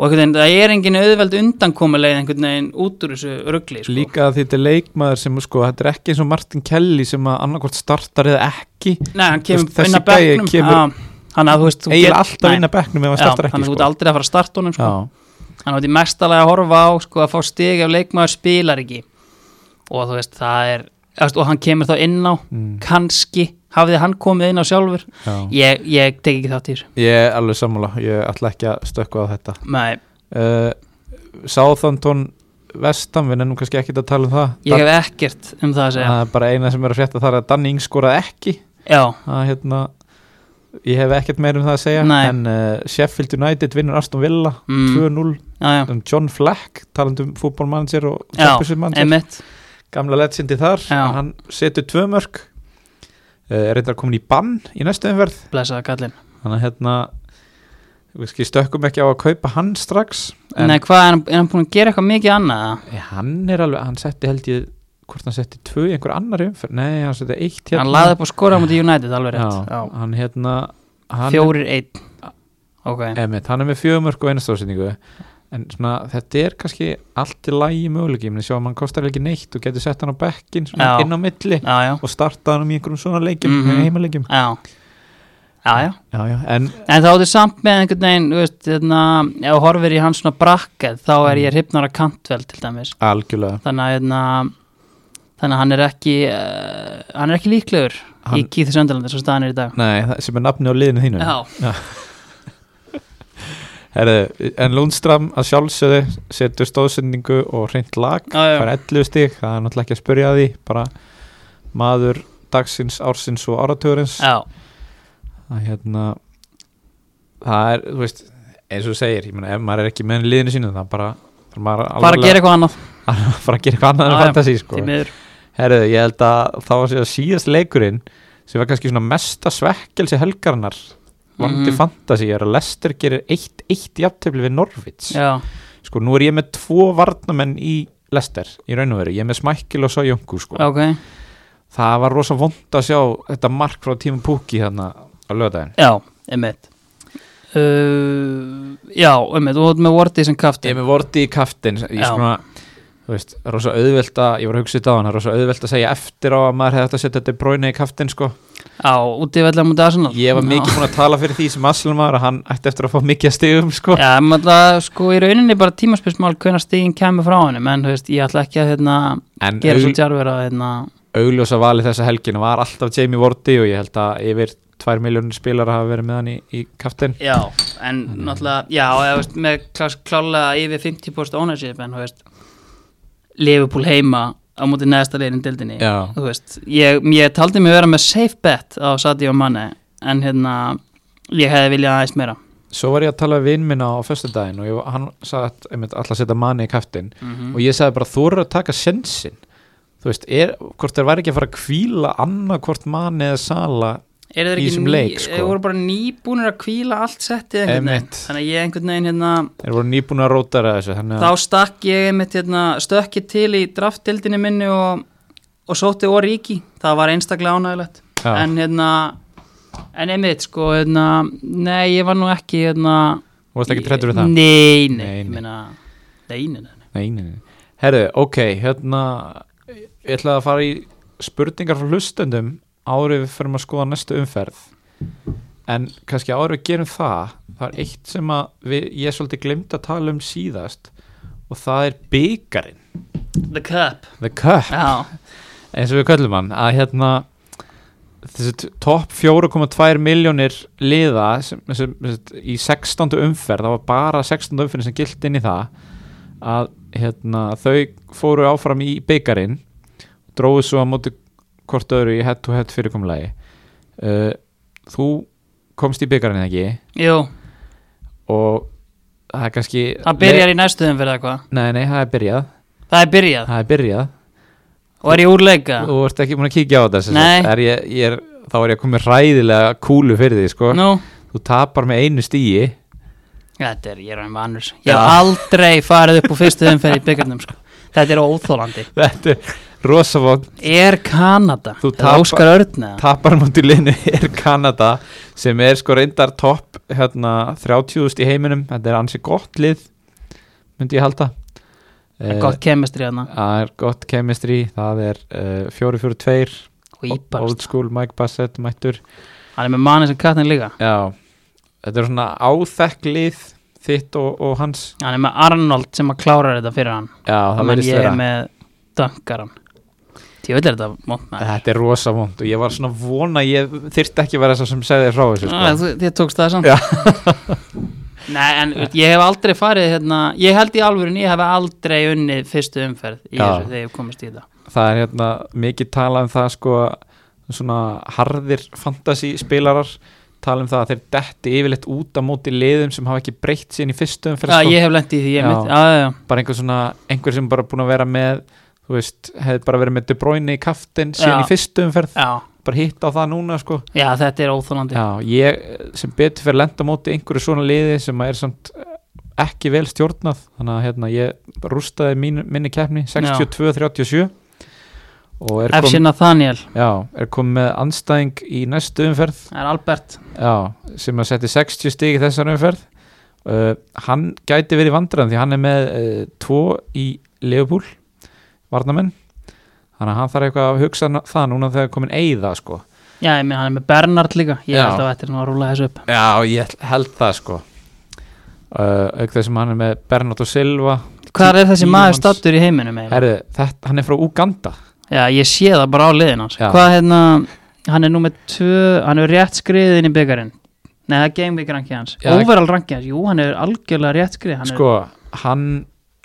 og einhvern veginn, það er engin auðveld undankomuleið einhvern veginn út úr þessu ruggli sko. líka að þetta er leikmaður sem sko, þetta er ekki eins og Martin Kelly sem að annarkvort startar eða ekki Nei, hann kemur Þessi inn að gæi bekknum kemur- Já, þannig að þú veist þú eiginlega get- alltaf Nei. vinna bekknum ef hann Já, startar ekki þannig að þú ert sko. aldrei að fara að starta honum sko. Já, þannig að þú ert í mestalega að horfa á sko, að fá stig ef leikmaður spilar ekki og þú veist, það er þú veist, og hann kemur þá inn á, Mm. kannski hafði hann komið inn á sjálfur Já. ég, ég tek ekki þátt í þessu Ég er alveg sammála, ég ætla ekki að stökkva á þetta Nei, uh, Southampton Vestam, við nefnum kannski ekkert að tala um það ég hef ekkert um það að segja Það er bara eina sem er að frétta þar er að Danny Ings skoraði ekki Já, að, hérna, Ég hef ekkert meir um það að segja Nei. En uh, Sheffield United vinnur Aston Villa mm, 2-0 já, já, um John Fleck talandum fútbólmanager og Já, fútbólmanager emitt Gamla legendi þar Já. Hann setur tvö mörg uh, Er reyndar komin í bann í næstu umverð blessaða kallinn Þannig að hérna við skil- Stökkum ekki á að kaupa hann strax En Nei, hvað, er hann, er hann búin að gera eitthvað mikið annað? eða? Nei, hann er alveg, hann setti held ég hvort hann setti tvö í einhver annar umferð nei, hann setti eitt hérna Hann laði upp og skora á múti United, alveg rétt já, hann hérna hann Eh. Fjórir einn Ok, er, emitt, hann er með fjögumörk og einastóðsynningu en svona, þetta er kannski allt í lægi möguleiki, menn sjá að hann kostar ekki neitt og getur sett hann á bekkin svona, Já. inn á milli já, já, og starta hann um í einhverjum svona leikjum mm Mhm. heimaleikjum já Já, já já, já, en En þá áttu samt með einhvern veginn, þú veist, þarna, ef þú horfir í hans svona brakkað, þá er Mm. ég hrifnar að kantvel til dæmis. algjörlega Þannig að, hérna, þannig að hann er ekki, uh, hann er ekki líklegur í Hann- Keith Söndalandir svo staðan er í dag. nei, það sem er nafni á liðinu þínu Já, Herðu, en Lundstram að sjálfsögðu setur stóðsendingu og hreint lag Já, já. fær 11 stík, það er náttúrulega ekki að spyrja að því bara maður dagsins, ársins og áratugurins já, að hérna það er, þú veist, eins og þú segir ég meina, ef maður er ekki með liðinu sínu það bara þarf maður fara að gera eitthvað annað, alveg- *laughs* fara að gera eitthvað annað Já, en já, fantasi sko. því miður. Herðu, ég held að það var síðan síðast leikurinn sem var kannski svona mesta svekkelsi helgarnar vandi Mhm. fantasi er að Lester gerir 1-1 jafntefli við Norvits Já, sko nú er ég með tvo varnamenn í Lester í raun og veru, ég er með Smækkel og Sæjónku sko. ok, það var rosa vond að sjá þetta mark frá tíma Pukki hérna á lögdæðin já, emmitt. Uh, já, emmitt, þú hótt með Wardy sem ég er kaftin. með vorti í kaftin ég Já. svona, þú veist, rosa auðvelt að ég var að hugsa þetta á hann, rosa auðvelt að segja eftir á að maður hefði átt að setja þetta bróinu í kaftin sko. Já, út í velja mútið Arsenal. ég var Já. mikið búin að tala fyrir því sem Aslan var að hann ætti eftir að fá mikið að stigum sko. *laughs* Já, maður það sko í rauninni bara tímaspilsmál hvernig stíðin kemur frá henni menn, þú veist, ég ætla ekki að hérna, en gera svo aug, tjárver að hérna, augljósa vali þessa helgin var alltaf Jamie Vorti og ég held að yfir 2 miljónir spilar hafa verið með hann í, í kaftin Já, en náttúrulega já, ég veist, með klás, klálega yfir 50% ownership, en þú veist Liverpool heima á móti neðsta leiðin dildinni Já. þú veist, ég, ég taldi mig vera með safe bet á Sadio Mane en hérna, ég hefði viljað aðeins meira Svo var ég að tala við vinn minna á föstudaginn og ég, hann sagði að einmitt alltaf að setja manni í kaftin Mhm. og ég sagði bara þú eru að taka sensin þú veist, er, hvort þeir væri ekki að fara að kvíla annað hvort manni eða sala Er þeir Í ekki þessum ný, leik, sko. þeir voru bara nýbúnir að kvíla allt settið einhvern veginn, Einmitt. þannig að ég einhvern veginn hérna, þeir voru nýbúin að róta þeirra þessu þannig þá að stakk ég mitt hérna, stökki til í draftdildinni minni og, og sótti Oriki það var einstaklega ánægilegt Já. en hérna en einmitt sko hérna, nei ég var nú ekki hérna, þú varst ekki trettur við það nei, nei, Nei, ég nei. meina nei, nei, nei, Nei, nei, nei. Herru, ok, hérna ég ætlaði að fara í spurningar frá hlustendum árið við förum að skoða næstu umferð en kannski árið við gerum það það er eitt sem að við, ég svolítið glemt að tala um síðast og það er byggarinn the cup The Cup, já, eins og við köllum hann að hérna þessi t- topp 4,2 miljónir liða sem, sem, sem, í 16. umferð, það var bara 16. umferð sem gilt inn í það að hérna, þau fóru áfram í byggarinn dróðu svo að móti hvort öðru í head to head fyrirkomulagi uh, þú komst í byggarinn ekki jú, og það er kannski það byrjar í næstuðum fyrir eitthvað Nei, nei, það er byrjað, það er byrjað það er byrjað og er ég úrleika Þú ert ekki búin að kíkja á þetta sem sagt. Nei. er ég, ég er, Þá er ég að koma með ræðilega kúlu fyrir því sko. nú, Þú tapar með einu stíi þetta er, ég er hann vannur ég Já. hef aldrei farið upp á fyrstuðum fyrir í byggarnum sko. þetta er óþólandi *laughs* Þetta er rosavótt Er Kanada? Þú Eða tapa- Óskar Örn eða? Tapar múti linu er Kanada sem er sko reyndar topp hérna, 30.000 í heiminum Þetta er ansi gott lið myndi ég halda Það er Eh, gott kemestri hérna Það er gott chemistry, það er uh, 442, og Íbarst, old school Mike Bassett mættur hann er með manni sem kattin líka Já, þetta er svona áþekk lið þitt og, og hans hann er með Arnold sem að klára þetta fyrir hann Já, það menn verðist ég vera er með Dunkaran Ég vil er þetta vont maður. Þetta er rosa vond og ég var svona vona að ég þyrfti ekki að vera þess að sem segði þér frá þessu Ah, sko. þú- Þið tókst það samt Já. *laughs* Nei, en ég hef aldrei farið hérna, ég held í alvörun ég hef aldrei unnið fyrstu umferð í Já. þessu þegar ég komist í það Það er hérna mikið tala um það sko svona harðir fantasy spilarar tala um það að þeir detti yfirleitt út á móti liðum sem hafa ekki breytt síðan í fyrstu umferð Já, sko. ég hef lent í því, ég Já. mitt, já, já, já bara einhver svona, einhver sem bara búin að vera með þú veist, hefði bara verið með De Bruyne í kaftin síðan Já. í fyrstu umferð Já, bara hitt á það núna sko já þetta er óþólandi Já, ég sem betur fyrir lenda móti einhverju svona liði sem er samt eh, ekki vel stjórnað þannig að hérna, ég rústaði mín, minni keppni 62-37 og er FC kom, Nathaniel, já, er kom með anstæðing í næstu umferð það er Albert já, sem að setja 60 stig í þessar umferð uh, hann gæti verið vandræðan því hann er með uh, tvo í Leopold varnamenn þannig að hann þarf eitthvað að hugsa na- það núna þegar komin eiða sko Já, ég minn, hann er með Bernard líka Ég Já. held að þetta er nú að rúla þessu upp Já, ég held það sko uh, auk þess sem hann er með Bernardo Silva Hvar er þessi Tíu maður manns. stattur í heiminum eiginlega? Herðu, þetta, hann er frá Uganda Já, ég sé það bara á liðin hans Já. Hvað hérna, hann er nú með tvö Hann er rétt skriðið inn í byggarinn Nei, það er gameweek ranki hans Já, það- Overall ranki hans, jú, hann er algjörlega rétt skriðið hann sko, hann,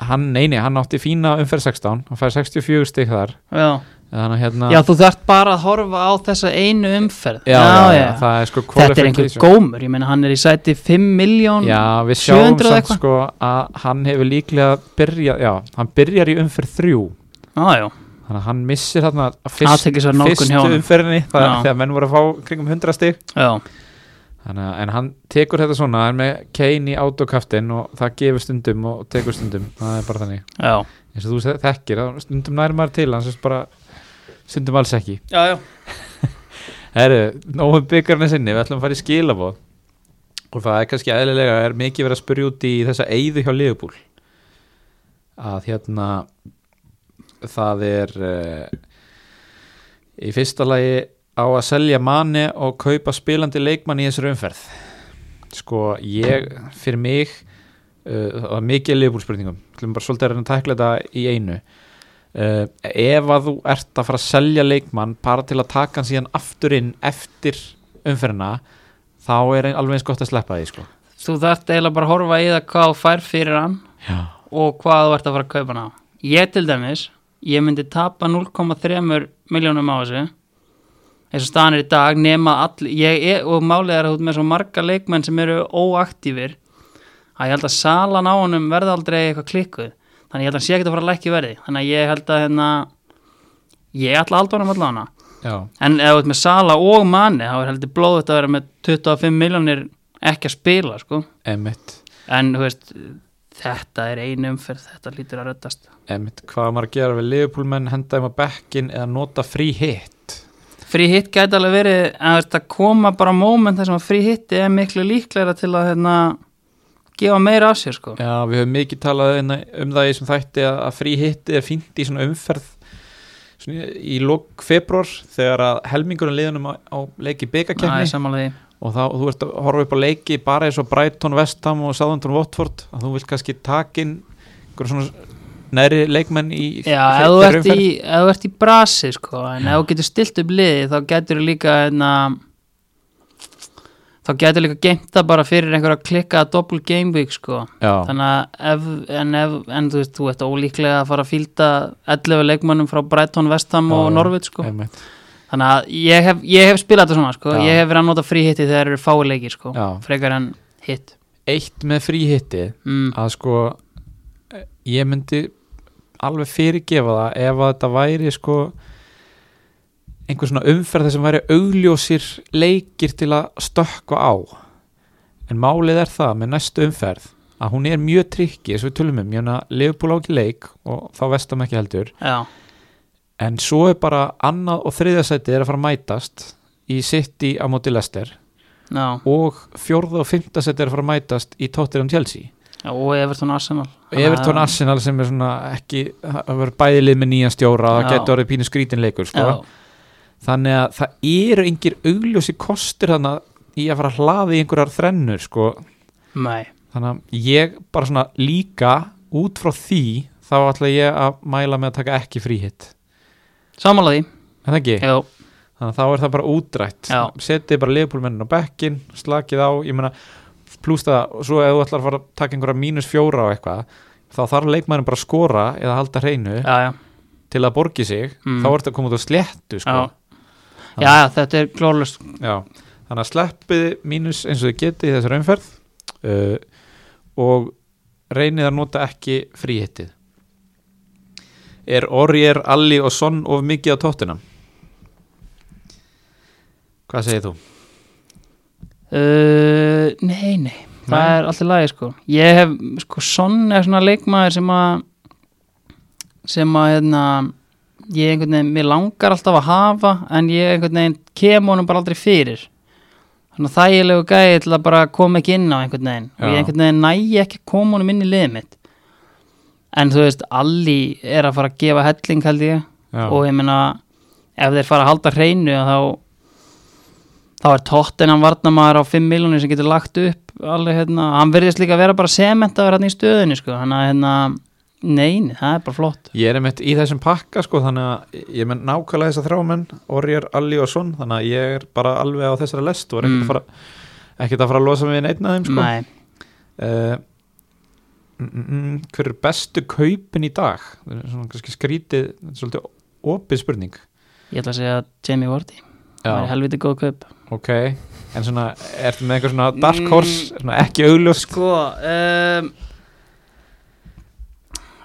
hann neini, hann átti fína umferð 16 hann fær 64 stík þar er, já. þannig að hérna já, þú þarft bara að horfa á þessa einu umferð já, já, já, já. það er sko Þetta er einhver qualification. gómur, ég meina hann er í sæti 5 miljón Já, við sjáum 700 samt eitthvað. sko að hann hefur líklega byrjað, já, hann byrjar í umferð 3 já, þannig að hann missir þarna fyrst, aðtekis var nálgun hjá fyrstu hann umferðinni það, Já. þegar menn voru að fá kringum 100 stík Já, Þannig, að- en hann tekur þetta svona hann er með Kane í autokaftin og það gefur stundum og tekur stundum það er bara þannig, já, eins og þú se- þekkir þá stundum nær maður til, hann sérst bara stundum alls ekki já, já. Herru, nógu byggarna sinni, við ætlum að fara í skilabóð og það er kannski eðlilega er mikið verið að spyrja út í þessa eyðu hjá Leopold að hérna það er uh, í fyrsta lagi á að selja manni og kaupa spilandi leikmann í þessari umferð sko ég fyrir mig uh, það var mikið liðbúlspurningum ætlum bara svolítið að reyna að tækla þetta í einu uh, ef að þú ert að fara að selja leikmann bara til að taka hann síðan aftur inn eftir umferðina þá er ein- alveg eins gott að sleppa því sko Þú þarft eiginlega bara að horfa í það hvað þú fær fyrir hann Já. og hvað þú ert að fara að kaupa hann á ég til dæmis, ég myndi tapa 0,3 miljónum á þessu eins og staðan er í dag nema all, ég er, og málið er að þú ert með svo marga leikmenn sem eru óaktífir að ég held að salan á honum verði aldrei eitthvað klikkuð þannig ég held að hann sé ekki að fara að lækki verði þannig að ég held að hérna ég ætla að halda honum allan Já. en ef þú ert með sala og manni þá er heldur blóðið að vera með 25 miljónir ekki að spila sko Emmett, en þú veist þetta er einu umferð, þetta lítur að röddast Emmett, hvað á maður að gera við liðbúlmenn henda þeim á bekkin eða nota frí hitt frí hitt gæti alveg verið að þú veist, að koma bara moment þar sem að frí hitti er miklu líklegra til að hérna, gefa meira af sér sko Já, við höfum mikið talað inn- um það í sem þætti að, að frí hitti er fínt í svona umferð svona í lok februar þegar að helmingurinn liðunum á, á leiki það er byggakefni samanlega og þá þú ert að horfa upp á leiki bara eins og Brighton, Vestham og Southampton Watford að þú vilt kannski takin einhver svona næri leikmenn í Já, fyrir- ef þú, fyrir ert í, umferð. ef þú ert í brasi sko, en ef þú getur stilt upp liði þá getur þú líka hérna, þá getur þú líka geimt það bara fyrir einhverja klikkaða doppel game week sko Já, þannig að ef, en, ef, en þú veist, þú ert ólíklega að fara að fýlda 11 leikmönnum frá Brighton, Vestham Já, og já. Norvit sko. einmitt. þannig að ég hef, ég hef spilað þetta svona sko. Já. ég hef verið að nota frí hitti þegar eru fáir leikir sko. Já. frekar en hitt Eitt með frí hitti mm. að sko eh, ég myndi alveg fyrirgefa það ef að þetta væri sko einhver svona umferð þar sem væri augljósir leikir til að stökkva á en málið er það með næstu umferð að hún er mjög trikki eins og við tölum um, ég hann að Liverpool á ekki leik og þá vestam ekki heldur Já. en svo er bara annað og þriðasæti er að fara að mætast í City á móti Leicester Já. og fjórða og fimmtasæti er að fara að mætast í Tottenham Chelsea Já, og Everton Arsenal Þannig að- Everton Arsenal sem er svona ekki það verður bæði lið með nýjan stjóra það Já. getur orðið pínu skrítinleikur sko. Já. þannig að það eru engir augljósi kostur þannig í að fara að hlaði í einhverjar þrennur sko. Nei. þannig að ég bara svona líka út frá því þá ætla ég að mæla með að taka ekki fríhitt Samála því en ekki, Já, þannig að þá er það bara útrætt Já. setið bara liðbúlmennin á bekkin slakið á, ég meina pluss það, svo ef þú ætlar að fara að taka einhverja mínus fjóra á eitthvað, þá þarf leikmærin bara að skora eða halda hreinu já, já, til að borgi sig, Mm. þá ertu að koma út á sléttu sko. já. Já, já, þetta er glóðlust Já, þannig að sleppið mínus eins og þið getið í þessari umferð uh, og reynið að nota ekki fríhittið. Er Orger, Alli og Son of mikið á tóttina? Hvað segir þú? Uh, nei, nei, það Nei. er alltaf lagi sko Ég hef, sko, Son er svona leikmaður sem að sem að, hérna ég einhvern veginn, mér langar alltaf að hafa en ég einhvern veginn kem honum bara aldrei fyrir þannig að þægilegu gæði til að bara koma ekki inn á einhvern veginn og Já. ég einhvern veginn nægi ekki að koma honum inn í liðið mitt en þú veist, Alli er að fara að gefa helling held ég Já, og ég meina ef þeir fara að halda hreinu að þá þá er Tottenham varnamaður á 5 miljonir sem getur lagt upp alveg hérna, hann verðist líka að vera bara sementaður hérna í stöðunni sko, hann að hérna neini, það er bara flott Ég er einmitt í þessum pakka sko þannig að ég menn nákvæmlega þess að þrá menn Orger, Alli og Son þannig að ég er bara alveg á þessari lest og er ekkert Mm. að fara ekkert að fara að losa mig við neinn að þeim sko Nei, uh, mm, mm, mm, hver er bestu kaupin í dag það er svona kannski skrítið þetta er svolítið opið spurning ég ætla að segja Jamie Vardy, það er helviti góð kaup ok, en svona ertu með einhver svona dark horse svona ekki augljós Sko um,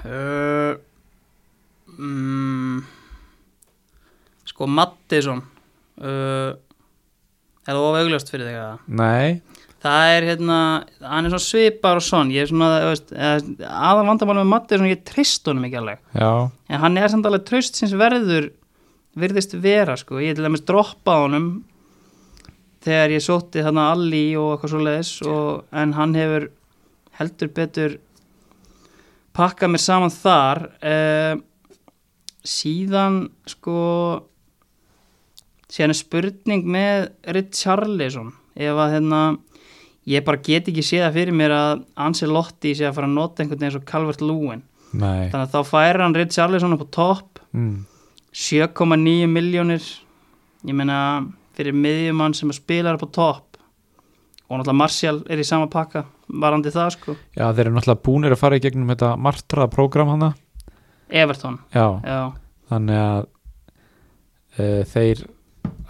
uh, mm, Sko Mattisson uh, Er það ofaugljóst fyrir þig að nei, Það er hérna, hann er svona svipar og svon, ég er svona, þú veist, eh, aðal vandamál með Matti er svona, ég treyst honum ekki alveg, já, en hann er samt alveg treyst sinns verður, virðist vera, sko, ég er til dæmis droppað honum þegar ég sótti þarna Alli og eitthvað svo leiðis, og, en hann hefur heldur betur pakkað mér saman þar, eh, síðan, sko, síðan er spurning með Richarlison ef að hérna ég bara get ekki séð það fyrir mér að Ancelotti sé að fara að nota einhvern veginn eins og Calvert Lewin nei þannig að þá færir hann Richarlison upp á topp mm. 7,9 miljónir ég meina fyrir miðjumann sem spilar upp á topp og náttúrulega Martial er í sama pakka varandi það sko já, þeir eru náttúrulega búnir að fara í gegnum þetta martraða prógram hana Everton, já, já, þannig að uh, þeir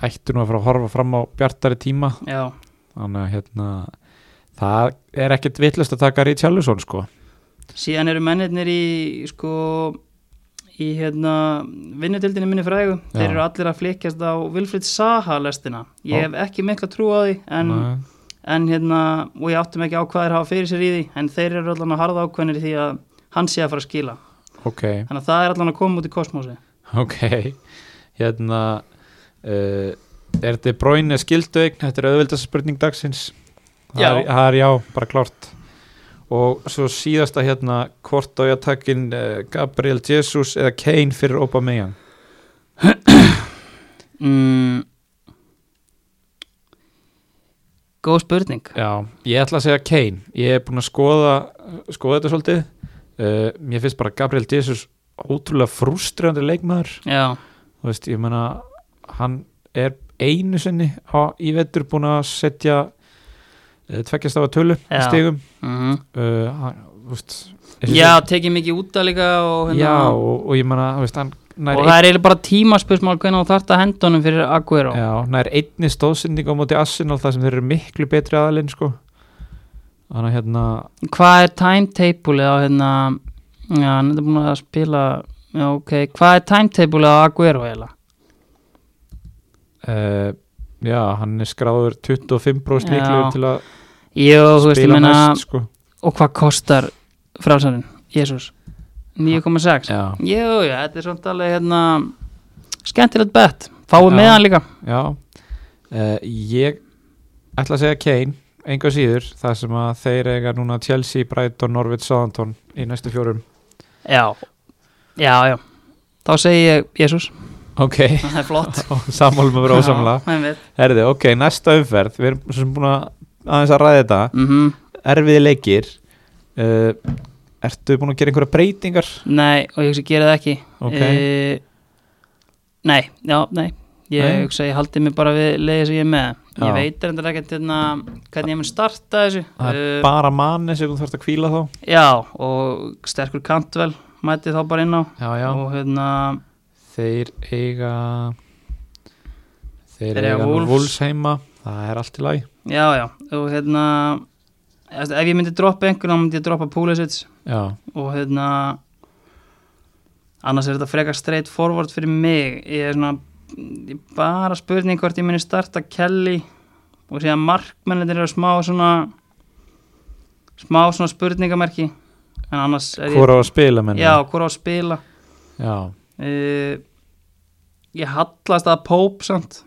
ættu nú að fara að horfa fram á bjartari tíma já þannig að hérna það er ekkert vitlust að taka Richarlison sko síðan eru mennirnir í sko í hérna vinnutildinni minni frægu Já. þeir eru allir að flikjast á Vilfrid Saha lestina, ég Já. hef ekki mikla trú á því en, Nei. en hérna og ég áttum ekki á hvað þeir hafa fyrir sér í því en þeir eru allan að harða ákveðnir í því að hann sé að fara að skila, ok þannig að það er allan að koma út í kosmosi *laughs* Ok, hérna uh, Er þetta bróinu skilduegn? Þetta er auðvöldast spurning dagsins Það Já. er- Það er já, bara klárt Og svo síðasta hérna Hvort á ég að taka inn uh, Gabriel Jesus eða Kane fyrir Aubameyang mm. góð spurning Já, ég ætla að segja Kane Ég er búin að skoða, skoða þetta svolítið uh, Mér finnst bara Gabriel Jesus Ótrúlega frústrandi leikmaður já, Þú veist, ég meina Hann er einu sinni á, Í vetur búin að setja uh, Tveggjast af að tölu í Já. Stigum mm uh, hann, þú veist, þessi- já tekið mikið út að líka og hérna já og, og ég meina þú veist, hann nær, og það er eiginlega bara tímaspursmál hvernig þú þarft að henda honum fyrir Aguero ein, já, nær einni stóðsending á móti Arsenal þar sem þeir eru miklu betri aðalinn sko. þannig að hérna hvað er timetable á hérna já, hann er búin að spila já, ok, hvað er timetable á Aguero eiginlega uh, já, hann er skráður 25% Já, líklegur til að Jú, þú veist, ég spila meina næst sko. og hvað kostar frálsarinn, Jésús 9,6 já, jú, já, þetta er svona alveg hérna skemmtilegt bett, fáið Já. með hann líka já. Uh, ég ætla að segja Kane enga síður, það sem að þeir eiga núna Chelsea, Brighton, Norwich, Southampton í næstu fjórum já, já, já þá segi ég Jésús, ok, *laughs* *laughs* það er flott sammálum að vera ósamla Já, einmitt. Herði, ok, næsta umferð Við erum svo sem búin að aðeins að ræða þetta Mhm. Erfiði leikir uh, Ertu búin að gera einhverja breytingar? Eh, Nei, og ég hugsa að gera það ekki Ok. Eh, Nei, já, nei Ég Nei. hugsa að ég haldi mig bara við leiði sem ég er með Já. Ég veit reyndar ekkert hérna hvernig ég mun starta þessu það er uh, bara manni sem þú þarfst að kvíla þá Já, og sterkur kantvel mæti þá bara inn á já, já. og hérna, þeir eiga þeir, Þeir eiga eiga nú Wolves. Wolves heima það er allt í lagi já, já og hérna ef ég myndi droppa einhvern, þá myndi ég droppa Pulisic já, og hérna annars er þetta frekar straight forward fyrir mig ég er svona ég er bara spurning hvort ég muni starta Kelly og síðan markmennir eru smá svona smá svona spurningamerki en annars er ég hvor á að spila menn já, hvora á að spila já. uh, ég hallast að Pope samt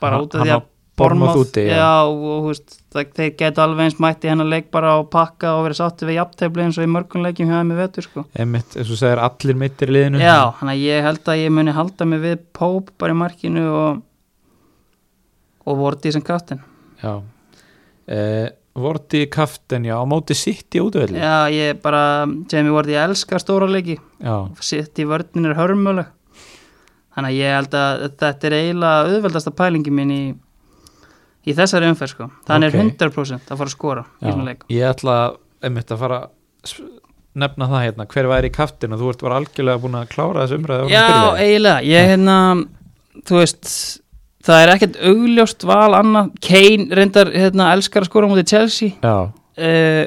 bara Hann- út af því hann að á Bournemouth úti, já. já. og, og húst, það, þeir geta alveg eins mætti hennar leik bara og pakka og vera sátti við jafntefli eins og í mörgum leikjum hjá með vetur sko Einmitt, eins og segir allir mittir í liðinu Já, þannig að ég held að ég muni halda mig við Pope bara í markinu og og Vorti sem kaftin já. Eh, Vorti kaftin, já, á móti sitt í útvöldi Já, ég bara, Jamie Vorti, ég elska stóra leiki já, sitt í vörnin er hörmuleg þannig að ég held að þetta er eiginlega auðveldasta pælingi mín í, í þessari umferð sko þannig Ok. er 100% að fara að skora í svona leik ég ætla einmitt að fara að s- nefna það hérna, hver væri kaftin og þú ert bara algjörlega búin að klára þessu umræðu Já, eiginlega, ég hérna þú veist, það er ekkert augljóst val annað, Kane reyndar hérna, elskar að skora mútið Chelsea já, uh,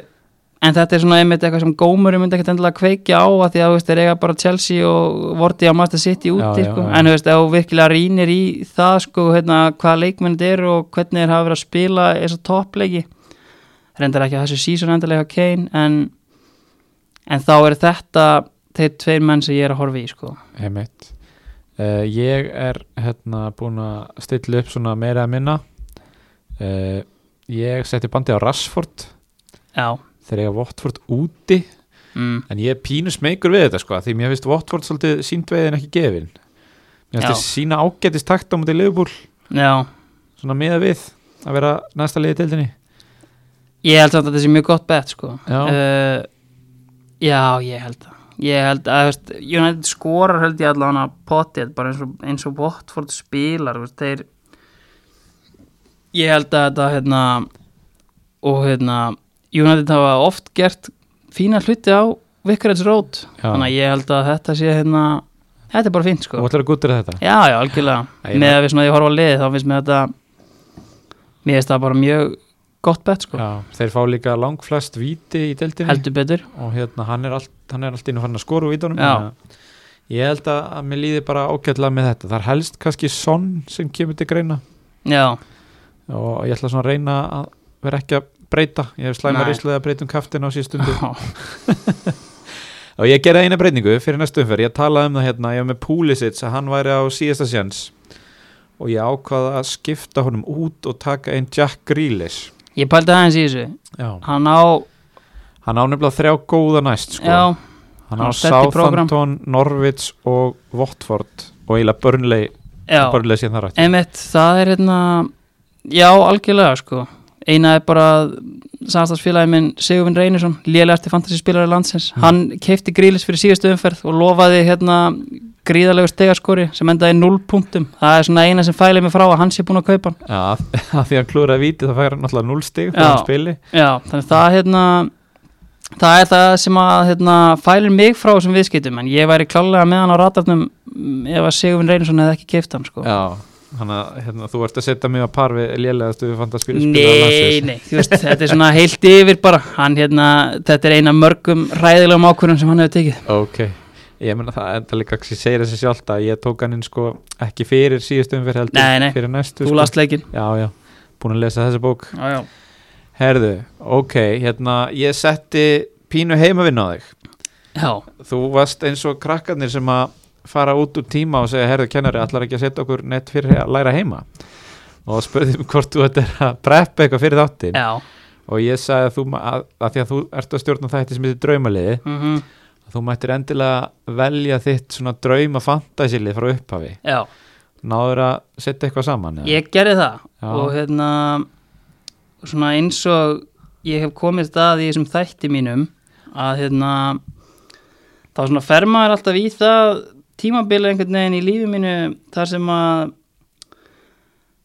en þetta er svona einmitt eitthvað sem gómur myndi ekkert endilega kveikja á að því að þú veist, þeir eiga bara Chelsea og vorti á Master City Já, úti, já, sko. já. en þú veist, ef þú virkilega rýnir í það, sko, hérna, hvaða leikmenn þetta eru og hvernig þeir hafa verið að spila eins og toppleiki, reyndar ekki á þessu season endilega hjá Kane, en en þá er þetta þeir tveir menn sem ég er að horfa í, sko einmitt uh, ég er hérna búin að stilla upp svona meira að minna uh, ég setti bandi á Rashford Já, þegar ég að Votford úti mm, en ég er pínu smeykur við þetta sko því mér finnst Votford svolítið síndveiðin ekki gefin mér finnst Já. það sína ágætist takt á mútið liðbúl já svona meða við að vera næsta liðið tildinni Ég held samt að þetta sé mjög gott bet sko Já. Eh, já ég held það Ég held að, þú veist, United skorar held ég allan að potið bara eins og, eins og Watford spilar, þú veist, þeir Ég held að þetta, hérna og hérna United hafa oft gert fína hluti á Vicarage Road Já. þannig að ég held að þetta sé hérna þetta er bara fínt sko og ætlar að guttur þetta Já, já, algjörlega Æ, ég með að við svona að ég horfa á liðið þá finnst mér þetta mér finnst það bara mjög gott bett sko, Já, þeir fá líka langflest víti í deildinni heldur betur og hérna hann er allt, hann er allt inn og farin að skora úr vítunum Já. þannig að ég held að, að mér líði bara ágætlega með þetta það er helst kannski sonn sem kemur til greina Já, og ég ætla svona að reyna að vera ekki að breyta ég hef slæma Nei. rislega að breyta um kaftin á síðan stundu Já. og ég gerði eina breytingu fyrir næstu umferð ég talaði um það hérna, ég var með Pulisic að hann væri á síðasta sjans og ég ákvaða að skipta honum út og taka einn Jack Grealish *laughs* ég pældi aðeins í þessu Já. hann á, hann á nefnilega þrjá góða næst sko. já, hann Hann á á stætt í prógram. Southampton, Norwich og Watford og eiginlega Burnley já Burnley síðan þar eftir einmitt, það er hérna já, algjörlega sko eina er bara samstagsfélagi minn Sigurvin Reynisson, lélegasti fantasyspilari landsins, Mm. hann keipti grílis fyrir síðustu umferð og lofaði hérna gríðalegu stegaskori sem endaði 0 punktum, það er svona eina sem fælið mig frá að hann sé búin að kaupa hann Já, að að því hann klúra að víti það fær hann náttúrulega 0 stig Já. þegar hann spili Já, þannig að það hérna það er það sem að hérna, fælir mig frá þessum viðskiptum en ég væri klálega með hann á ratarnum mm, ef að Sigurvin Reynsson hefði ekki keift hann sko. Já, hann að hérna, þú ert að setja mig á par við lélega stuðu fantaskil Nei, nei, þú veist, þetta er svona heilt yfir bara, hann hérna þetta er eina mörgum ræðilegum ákvörðum sem hann hefur tekið. Ok, ég meina það enda líka kannski segir þessi sjálft að ég tók hann inn sko ekki fyrir síðustu umfyrir heldur Nei, nei. fyrir næstu sko. Þú last leikin Já, já, búin að lesa þessa bók Já, já, Herðu, ok, hérna ég setti pínu heimavinn á þig já, þú varst eins og krakkarnir sem að fara út úr tíma og segja herðu kennari, allar ekki að setja okkur neitt fyrir að læra heima og spurðum hvort þú ættir að preppa eitthvað fyrir þáttin já. og ég sagði að þú, ma- að, að því að þú ert að stjórna þætti sem heitir draumaliði mhm, að þú mættir endilega velja þitt svona drauma fantasilið frá upphafi já. náður að setja eitthvað saman eða? Ég gerði það Já. og hérna svona eins og ég hef komið stað í þessum þætti mínum að hérna þá svona fer maður alltaf í það tímabilið einhvern veginn í lífi mínu þar sem að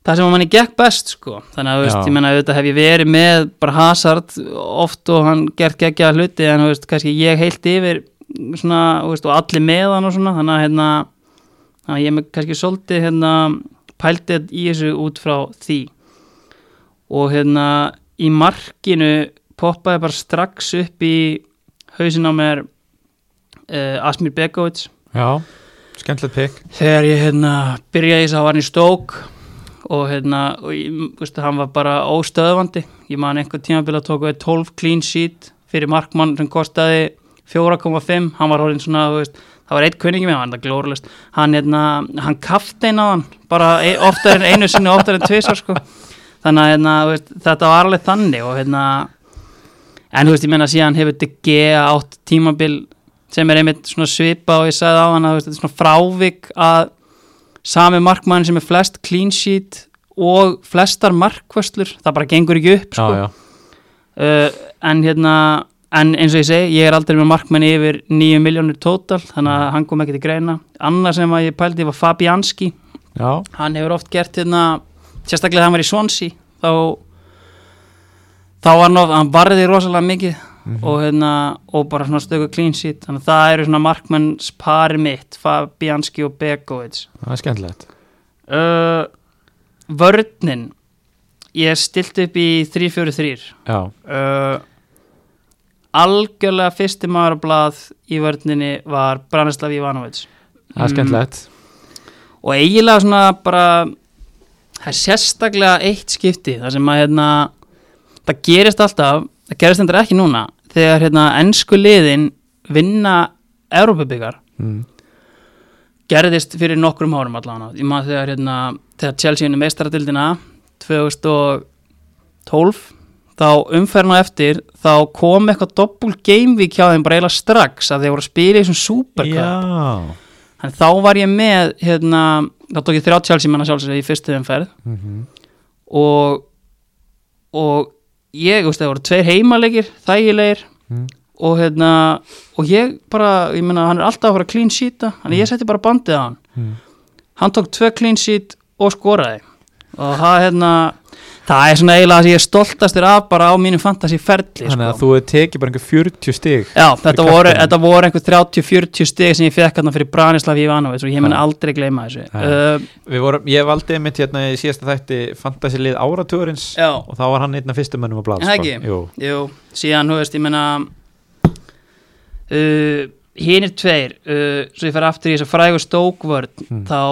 þar sem að manni gekk best sko þannig að þú veist, Já. ég menna auðvitað hef ég verið með bara Hazard oft og hann gert geggja hluti en þú veist, kannski ég heilt yfir svona, þú veist, og allir með hann og svona, þannig að hérna þannig að ég er með kannski svolítið hérna pældið í þessu út frá því og hérna í markinu poppaði bara strax upp í hausin á mér uh, Asmir Begovic Já, skemmtilegt pikk þegar ég hérna byrjaði þess að var hann í stók og hérna og ég, veistu, hann var bara óstöðvandi ég man einhver tímabil að tóka 12 clean sheet fyrir markmann sem kostaði 4,5 hann var horfinn svona þú veist, það var eitt kunningi með hann það glórulist hann, hérna, hann kaftein á hann bara e oftar en einu sinni oftar en tvisar sko. þannig að hérna, þú veist, þetta var alveg þannig og hérna en þú veist ég menna síðan hefur þetta gea átt tímabil sem er einmitt svona svipa og ég sagði á hann að þú veist, þetta er svona frávik að sami markmann sem er flest clean sheet og flestar markvöslur það bara gengur ekki upp sko. Já, já, Uh, en hérna en eins og ég segi, ég er aldrei með markmann yfir 9 miljónur tótal, þannig að hann kom ekki til greina annar sem að ég pældi var Fabianski já, hann hefur oft gert hérna sérstaklega þegar hann var í Swansea þá þá var hann, of, hann varði rosalega mikið og, hérna, og bara svona stöku clean sheet þannig að það eru svona markmanns pari mitt Fabianski og Begovic það er skemmtilegt uh, Vörninn ég stilt upp í 3-4-3 Já, uh, algjörlega fyrsti maður á blað í vörninni var Branislav Ivanovic Mm. það er skemmtilegt og eiginlega svona bara það er sérstaklega eitt skipti þar sem að hérna það gerist alltaf, það gerist endur ekki núna þegar hérna ennsku liðin vinna Európabyggar mm. gerðist fyrir nokkrum árum allan ég maður þegar hérna þegar Chelsea unni meistaratildina 2012 þá umferðin á eftir þá kom eitthvað doppul gamevík hjá þeim bara eiginlega strax að þeir voru að spila í þessum supercup Já, en þá var ég með hérna, þá tók ég þrjá Chelsea manna sjálfsög í fyrstu umferð mm og og ég, þú veist, það voru tveir heimaleikir þægilegir Mm. og hérna, og ég bara ég meina, hann er alltaf að fara að clean sheeta þannig Mhm. ég setti bara bandið á hann Mm. hann tók tvö clean sheet og skoraði og það, hérna það er svona eiginlega það sem ég er stoltastur af bara á sko. mínum fantasy ferli þannig að þú hefur tekið bara einhver 40 stig Já, þetta Fyrir voru, kapteininn. þetta voru einhver 30-40 stig sem ég fekk hérna fyrir Branislav Ivanovic og ég mun Já. aldrei gleyma Já. þessu uh, Við vorum, ég valdi einmitt hérna í síðasta þætti fantasy lið áratugurins Já, og þá var hann einna fyrstu mönnum að blad Er það ekki? Jú, Jú, síðan, þú veist, ég menna uh, hinn er tveir uh, svo ég fer aftur í þess að frægu stókvörn Mm. þá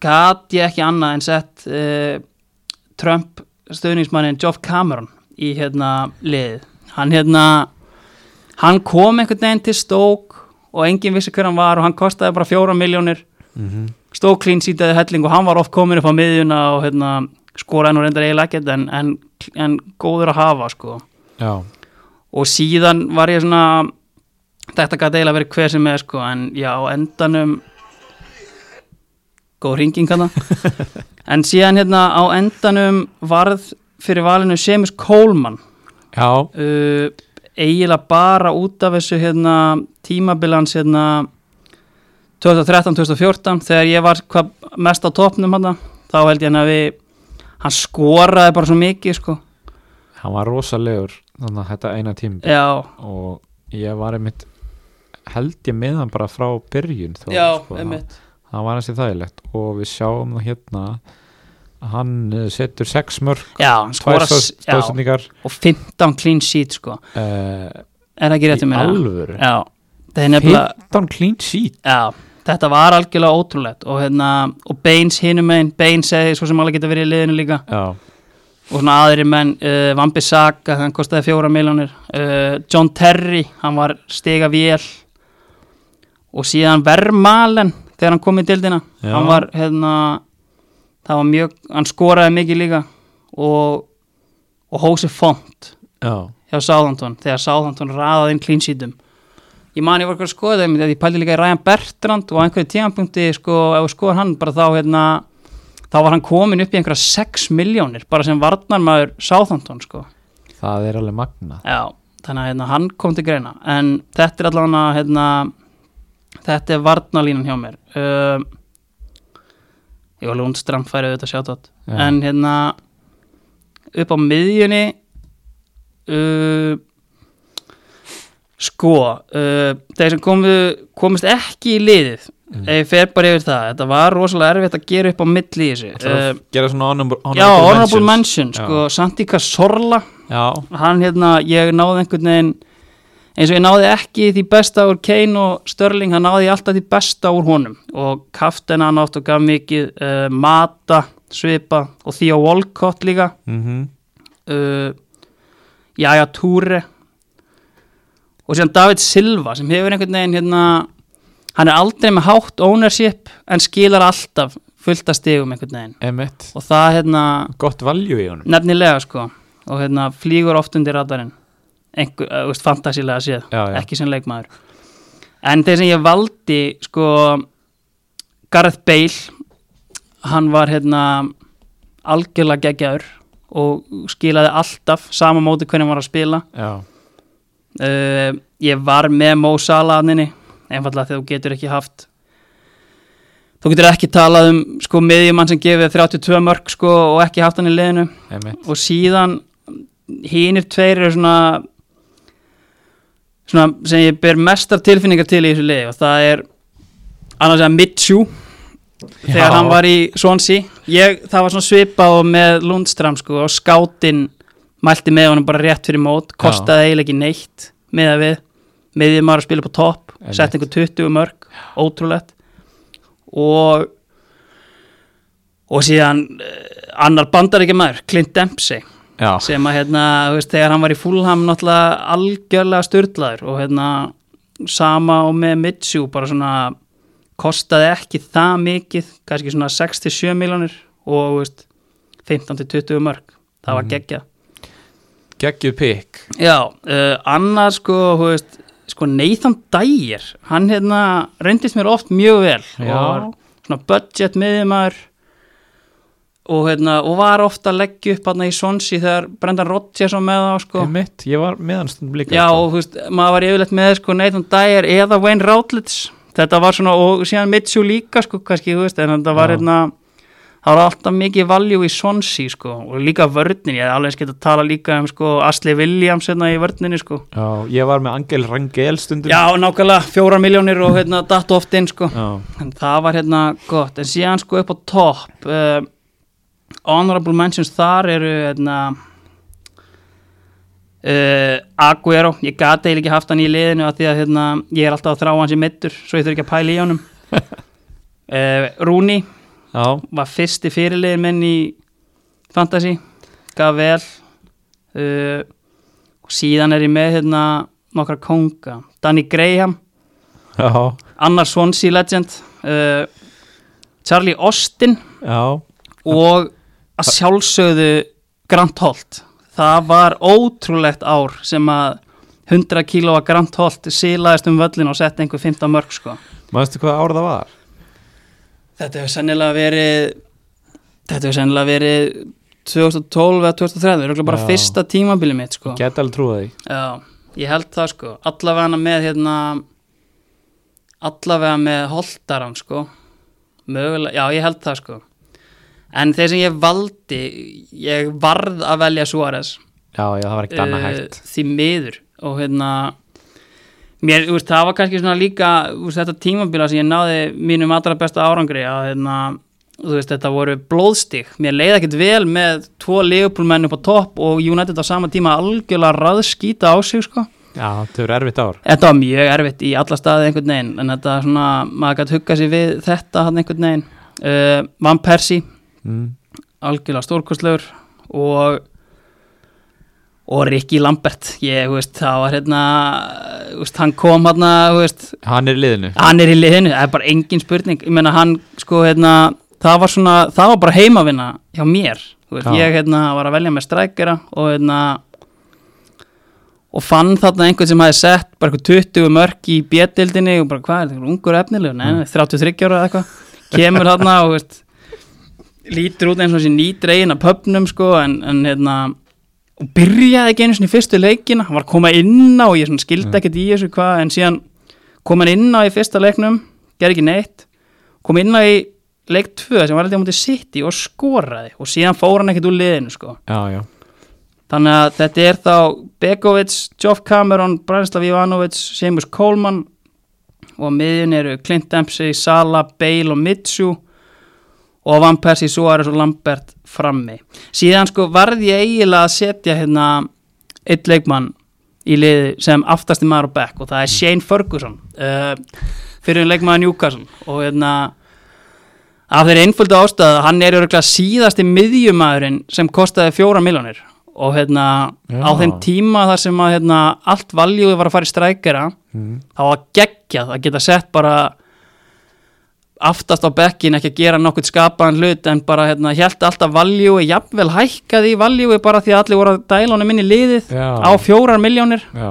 gat ég ekki annað en sett uh, Trump stöðningsmannin Geoff Cameron í hérna liðið hann hérna hann kom einhvern veginn til stók og enginn vissi hver hann var og hann kostaði bara fjóra miljónir mm stók klín sítaði helling og hann var oft komin upp á miðjuna og hérna skoraði nú reyndar eiginlega ekkert en, en, en góður að hafa sko já, og síðan var ég svona þetta gæti eiginlega verið hver sem er sko en já, á endanum góð hringing hann en síðan hérna á endanum varð fyrir valinu Seamus Coleman já, uh, eiginlega bara út af þessu hérna, tímabilans hérna, 2013-2014 þegar ég var hvað mest á topnum hérna, þá held ég hann að við hann skoraði bara svo mikið sko. hann var rosalegur þannig að þetta eina tíma já, og ég var einmitt held ég með hann bara frá byrjun þó, já, sko, hann, einmitt hann var hans í þægilegt og við sjáum það hérna að hann eh, setur sex mörg já, hann tvær skoraði s- já, stóðsendingar og 15 clean sheet sko. uh, er það ekki í rétt um mér? alvöru já, það er nefnilega 15 clean sheet Já, þetta var algjörlega ótrúlegt og, hérna, og Baines hinum einn Baines eða svo sem alveg geta verið í liðinu líka já, og svona aðri menn uh, Vambi Saka, hann kostiði fjóra miljónir uh, John Terry, hann var stiga vél og síðan Vermalen þegar hann kom í dildina Já. hann var hérna það var mjög, hann skoraði mikið líka og, og Hose Font já, hjá Sáðantón þegar Sáðantón raðaði inn klínsítum ég man ég var eitthvað að skoða þeim ég pældi líka í Ryan Bertrand og á einhverju tímanpunkti sko, ef þú skoðar hann bara þá hérna, þá var hann komin upp í einhverja 6 miljónir bara sem varnarmaður Sáðantón sko. það er alveg magna Já, þannig að hérna, hann kom til greina en þetta er allavega hérna, Þetta er varnalínan hjá mér um, Jó, Lundström færi auðvitað sjátt Já. En hérna upp á miðjunni uh, Sko uh, Þeir sem komu, komist ekki í liðið Mm. Ef ég fer bara yfir það Þetta var rosalega erfitt að gera upp á milli í þessu Ætlarðu að uh, gera svona honorable, Eh, honorable Já, honorable mentions? mention sko, Santika Sorla Já, hann hérna, ég náði einhvern veginn eins og ég náði ekki því besta úr Kane og Störling, hann náði ég alltaf því besta úr honum og kaftin hann átt og gaf mikið uh, Mata, Svipa og Theo Walcott líka mhm uh, Jaja Túre og síðan David Silva sem hefur einhvern veginn hérna, hann er aldrei með hátt ownership en skilar alltaf fullt að stigum einhvern veginn Emmett, og það hérna gott value í honum Nefnilega sko og hérna flýgur oft undir radarinn einhver, uh, veist, fantasílega séð Já, já. ekki sem leikmaður en þeir sem ég valdi sko Gareth Bale hann var hérna algjörlega geggjaður og skilaði alltaf sama móti hvernig hann var að spila Já, uh, ég var með Mo Salah aninni, einfallega þegar þú getur ekki haft þú getur ekki talað um sko miðjumann sem gefið 32 mörg sko og ekki haft hann í liðinu Emmett og síðan hínir tveir eru svona svona sem ég ber mestar tilfinningar til í þessu liði og það er annars að Mitchu þegar Já. hann var í Swansea ég, það var svona svipað og með Lundstram sko og skáttinn mælti með honum bara rétt fyrir mót kostaði eiginlega ekki neitt með að við miðið maður að spila upp á topp Einmitt. sett einhver 20 mörg, ótrúlegt og og síðan uh, annar bandar ekki maður, Clint Dempsey Já, sem að hérna, þú veist, þegar hann var í Fulham náttúrulega algjörlega styrlaður og hérna sama og með Mitsu, bara svona kostaði ekki það mikið kannski svona 6-7 miljonir og þú veist, 15-20 mörg það var Mhm. geggja geggjuð pick Já, uh, annars sko, þú veist, sko Nathan Dyer, hann hérna reyndist mér oft mjög vel Já. og var svona budget miðjumar og hérna, og var ofta að leggja upp hann í Sonsi þegar Brendan Rodgers var með þá sko. Emmett, ég var meðanstund líka Já, sko. og þú veist, maður var yfirleitt með sko Nathan Dyer eða Wayne Routledge þetta var svona, og síðan Mitsu líka sko, kannski, þú veist, en þetta var Já. hérna það var alltaf mikið valjú í Sonsi sko, og líka vörnin, ég hef alveg skeitt að tala líka um sko Asli Williams hérna í vörninni sko. Já, ég var með Angel Rangel stundum Já, nákvæmlega, fjórar miljónir og hérna datt oft inn sko Já, en það var hérna gott, en síðan sko upp á topp uh, honorable mentions þar eru hérna uh, Aguero, ég gat eiginlega ekki haft hann í liðinu af því að hérna, ég er alltaf að þrá hans í middur svo ég þurfi ekki að pæla í honum uh, Rúni já, var fyrsti fyrirliðin minn í Fantasy, gaf vel uh, og síðan er ég með hérna nokkra konga, Danny Graham já, annar Swansea legend uh, Charlie Austin já. og að sjálfsögðu Grant Holt það var ótrúlegt ár sem að 100 kílóa Grant Holt sílaðist um völlin og sett einhver 15 mörg sko. Manstu hvað ár það var? þetta hefur sennilega verið þetta hefur sennilega verið 2012 eða 2013 það er bara Já. fyrsta tímabili mitt sko. Get alveg trúið því Já, ég held það sko allavega með hérna allavega með holdaran sko mögulega, já ég held það sko en þeir sem ég valdi ég varð að velja Suárez Já, já, það var ekkert annað eh, hægt því miður og hérna mér, úr, það var kannski svona líka úr, þetta tímabila sem ég náði mínum allra besta árangri að hérna þú veist, þetta voru blóðstig mér leiði ekkert vel með tvo legupúlmenn upp á topp og United á sama tíma algjörlega raðskýta á sig sko Já, þetta verður erfitt ár Þetta var mjög erfitt í alla staði einhvern veginn en þetta er svona, maður gætt hugga sér við þetta hann einhvern veginn uh, Van Persie, mm. algjörlega stórkostlegur og og Ricky Lambert ég, þú veist, það var hérna þú veist, hann kom hérna, þú veist Hann er í liðinu hann er í liðinu, það er bara engin spurning ég meina hann, sko, hérna það var svona, það var bara heimavinna hjá mér, þú veist, Já. ég hérna var að velja með strækjara og hérna og fann þarna einhvern sem hafi sett bara eitthvað 20 mörk í bjettildinni og bara hvað er þetta, ungur efnilegur, neina, 33 ára eða eitthvað, kemur þarna og veist, lítur út eins og þessi nýdregin að pöpnum sko, en, en hérna og byrjaði ekki einu svona í fyrstu leikina hann var að koma inn á og ég svona skildi ekkert í þessu hvað en síðan kom hann inn á í fyrsta leiknum gerði ekki neitt kom inn á í leik 2 sem var alltaf mútið sitt í og skoraði og síðan fór hann ekkert úr liðinu sko. já, já, þannig að þetta er þá Begovic, Geoff Cameron, Branislav Ivanovic Seamus Coleman og á miðjun eru Clint Dempsey, Sala Bale og Mitsu og Van Persi, Suárez og Lambert frammi. Síðan sko varð ég eiginlega að setja hérna eitt leikmann í liði sem aftasti maður á bekk og það er Shane Ferguson uh, fyrir en leikmann Newcastle og hérna af þeirri einföldu ástæðu að hann er örgulega síðasti miðjumæðurinn sem kostaði fjóra miljónir og hérna Já. á þeim tíma þar sem að hérna, allt valjúið var að fara í strækjara mm. þá var geggjað að geta sett bara aftast á bekkin ekki að gera nokkurt skapaðan hlut en bara hérna hjælt alltaf valjúi jafnvel hækkaði í valjúi bara því að allir voru að dæla honum inn í liðið Já. á fjórar miljónir já,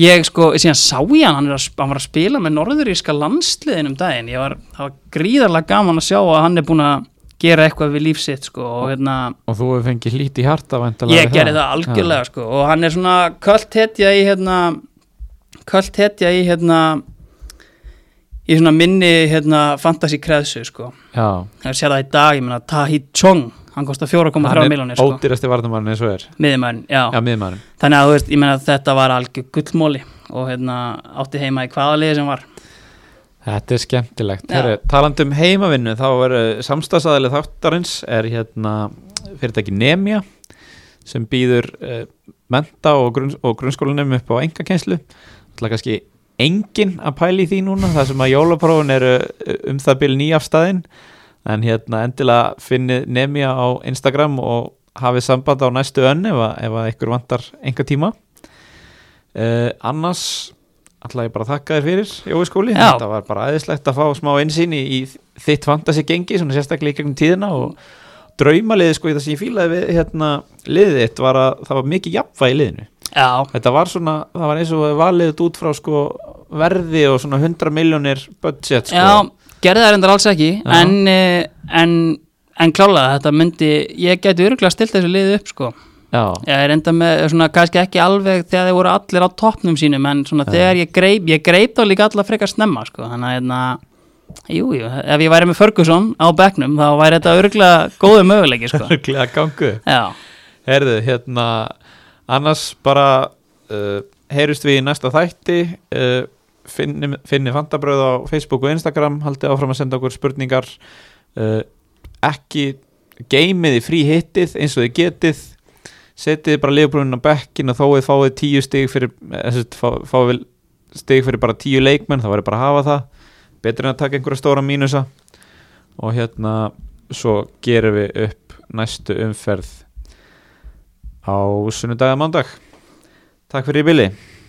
ég sko, síðan sá ég hann, hann, er að, sp- hann var að spila með norðuríska landsliðin um daginn ég var, það var gríðarlega gaman að sjá að hann er búin að gera eitthvað við lífsitt sko og hérna og þú hefur fengið lít í harta væntanlega ég við gerði það algjörlega sko og hann er svona kvöld hetja í hérna kvöld hetja í hérna í svona minni hérna fantasy kreðsu sko já, ég sé það í dag, ég meina Tahi Chong hann kostar 4,3 miljonir sko ódýrasti varnamærin eins og er miðumærin, já. já, miðmærin þannig að þú veist, ég meina þetta var algjör gullmóli og hérna átti heima í hvaða liði sem var Þetta er skemmtilegt. Já. Heru, talandi um heimavinnu þá er samstagsæðileg þáttarins er hérna fyrirtæki Nemia sem býður uh, menta og, grunn, og grunnskólanum upp á engakenslu. Það er kannski engin að pæli því núna þar sem að jólaprófun eru eh, um það byrju nýjafstæðin en hérna endilega finni Nemia á Instagram og hafið samband á næstu önn ef að, ef að ykkur vantar enga tíma. Uh, annars Alltaf ég bara að þakka þér fyrir, Jói skóli Já. Þetta var bara aðeinslegt að fá smá einsýn í, í þitt fantasi gengi, svona sérstaklega í gegnum tíðina og draumaliði sko í það sem ég fílaði við hérna liðið þitt var að það var mikið jafnvæg í liðinu já, Þetta var svona, það var eins og það var liðið út frá sko verði og svona 100 miljónir budget sko Já, gerði það reyndar alls ekki Já. en, eh, en, en klálega þetta myndi, ég gæti örgulega stilt þessu liði upp sko Já. Ég er enda með, eh, svona, kannski ekki alveg þegar þeir voru allir á toppnum sínum en svona Já. þegar ég greip, ég greip þá líka allar frekar snemma sko, þannig að hérna Jú, jú, ef ég væri með Ferguson á bekknum þá væri þetta örgulega góðu möguleiki *laughs* sko. Örugglega gangu Já, Herðu, hérna annars bara uh, heyrust við í næsta þætti uh, finni, finni fandabröð á Facebook og Instagram, haldið áfram að senda okkur spurningar uh, ekki geymið í frí hittið eins og þið getið setið bara liðbrúnin á bekkin og þó við fáið tíu stig fyrir eh, sem sagt, fá- fáið við stig fyrir bara tíu leikmenn, þá verður bara að hafa það betur en að taka einhverja stóra mínusa og hérna svo gerum við upp næstu umferð á sunnudag og mándag Takk fyrir í bili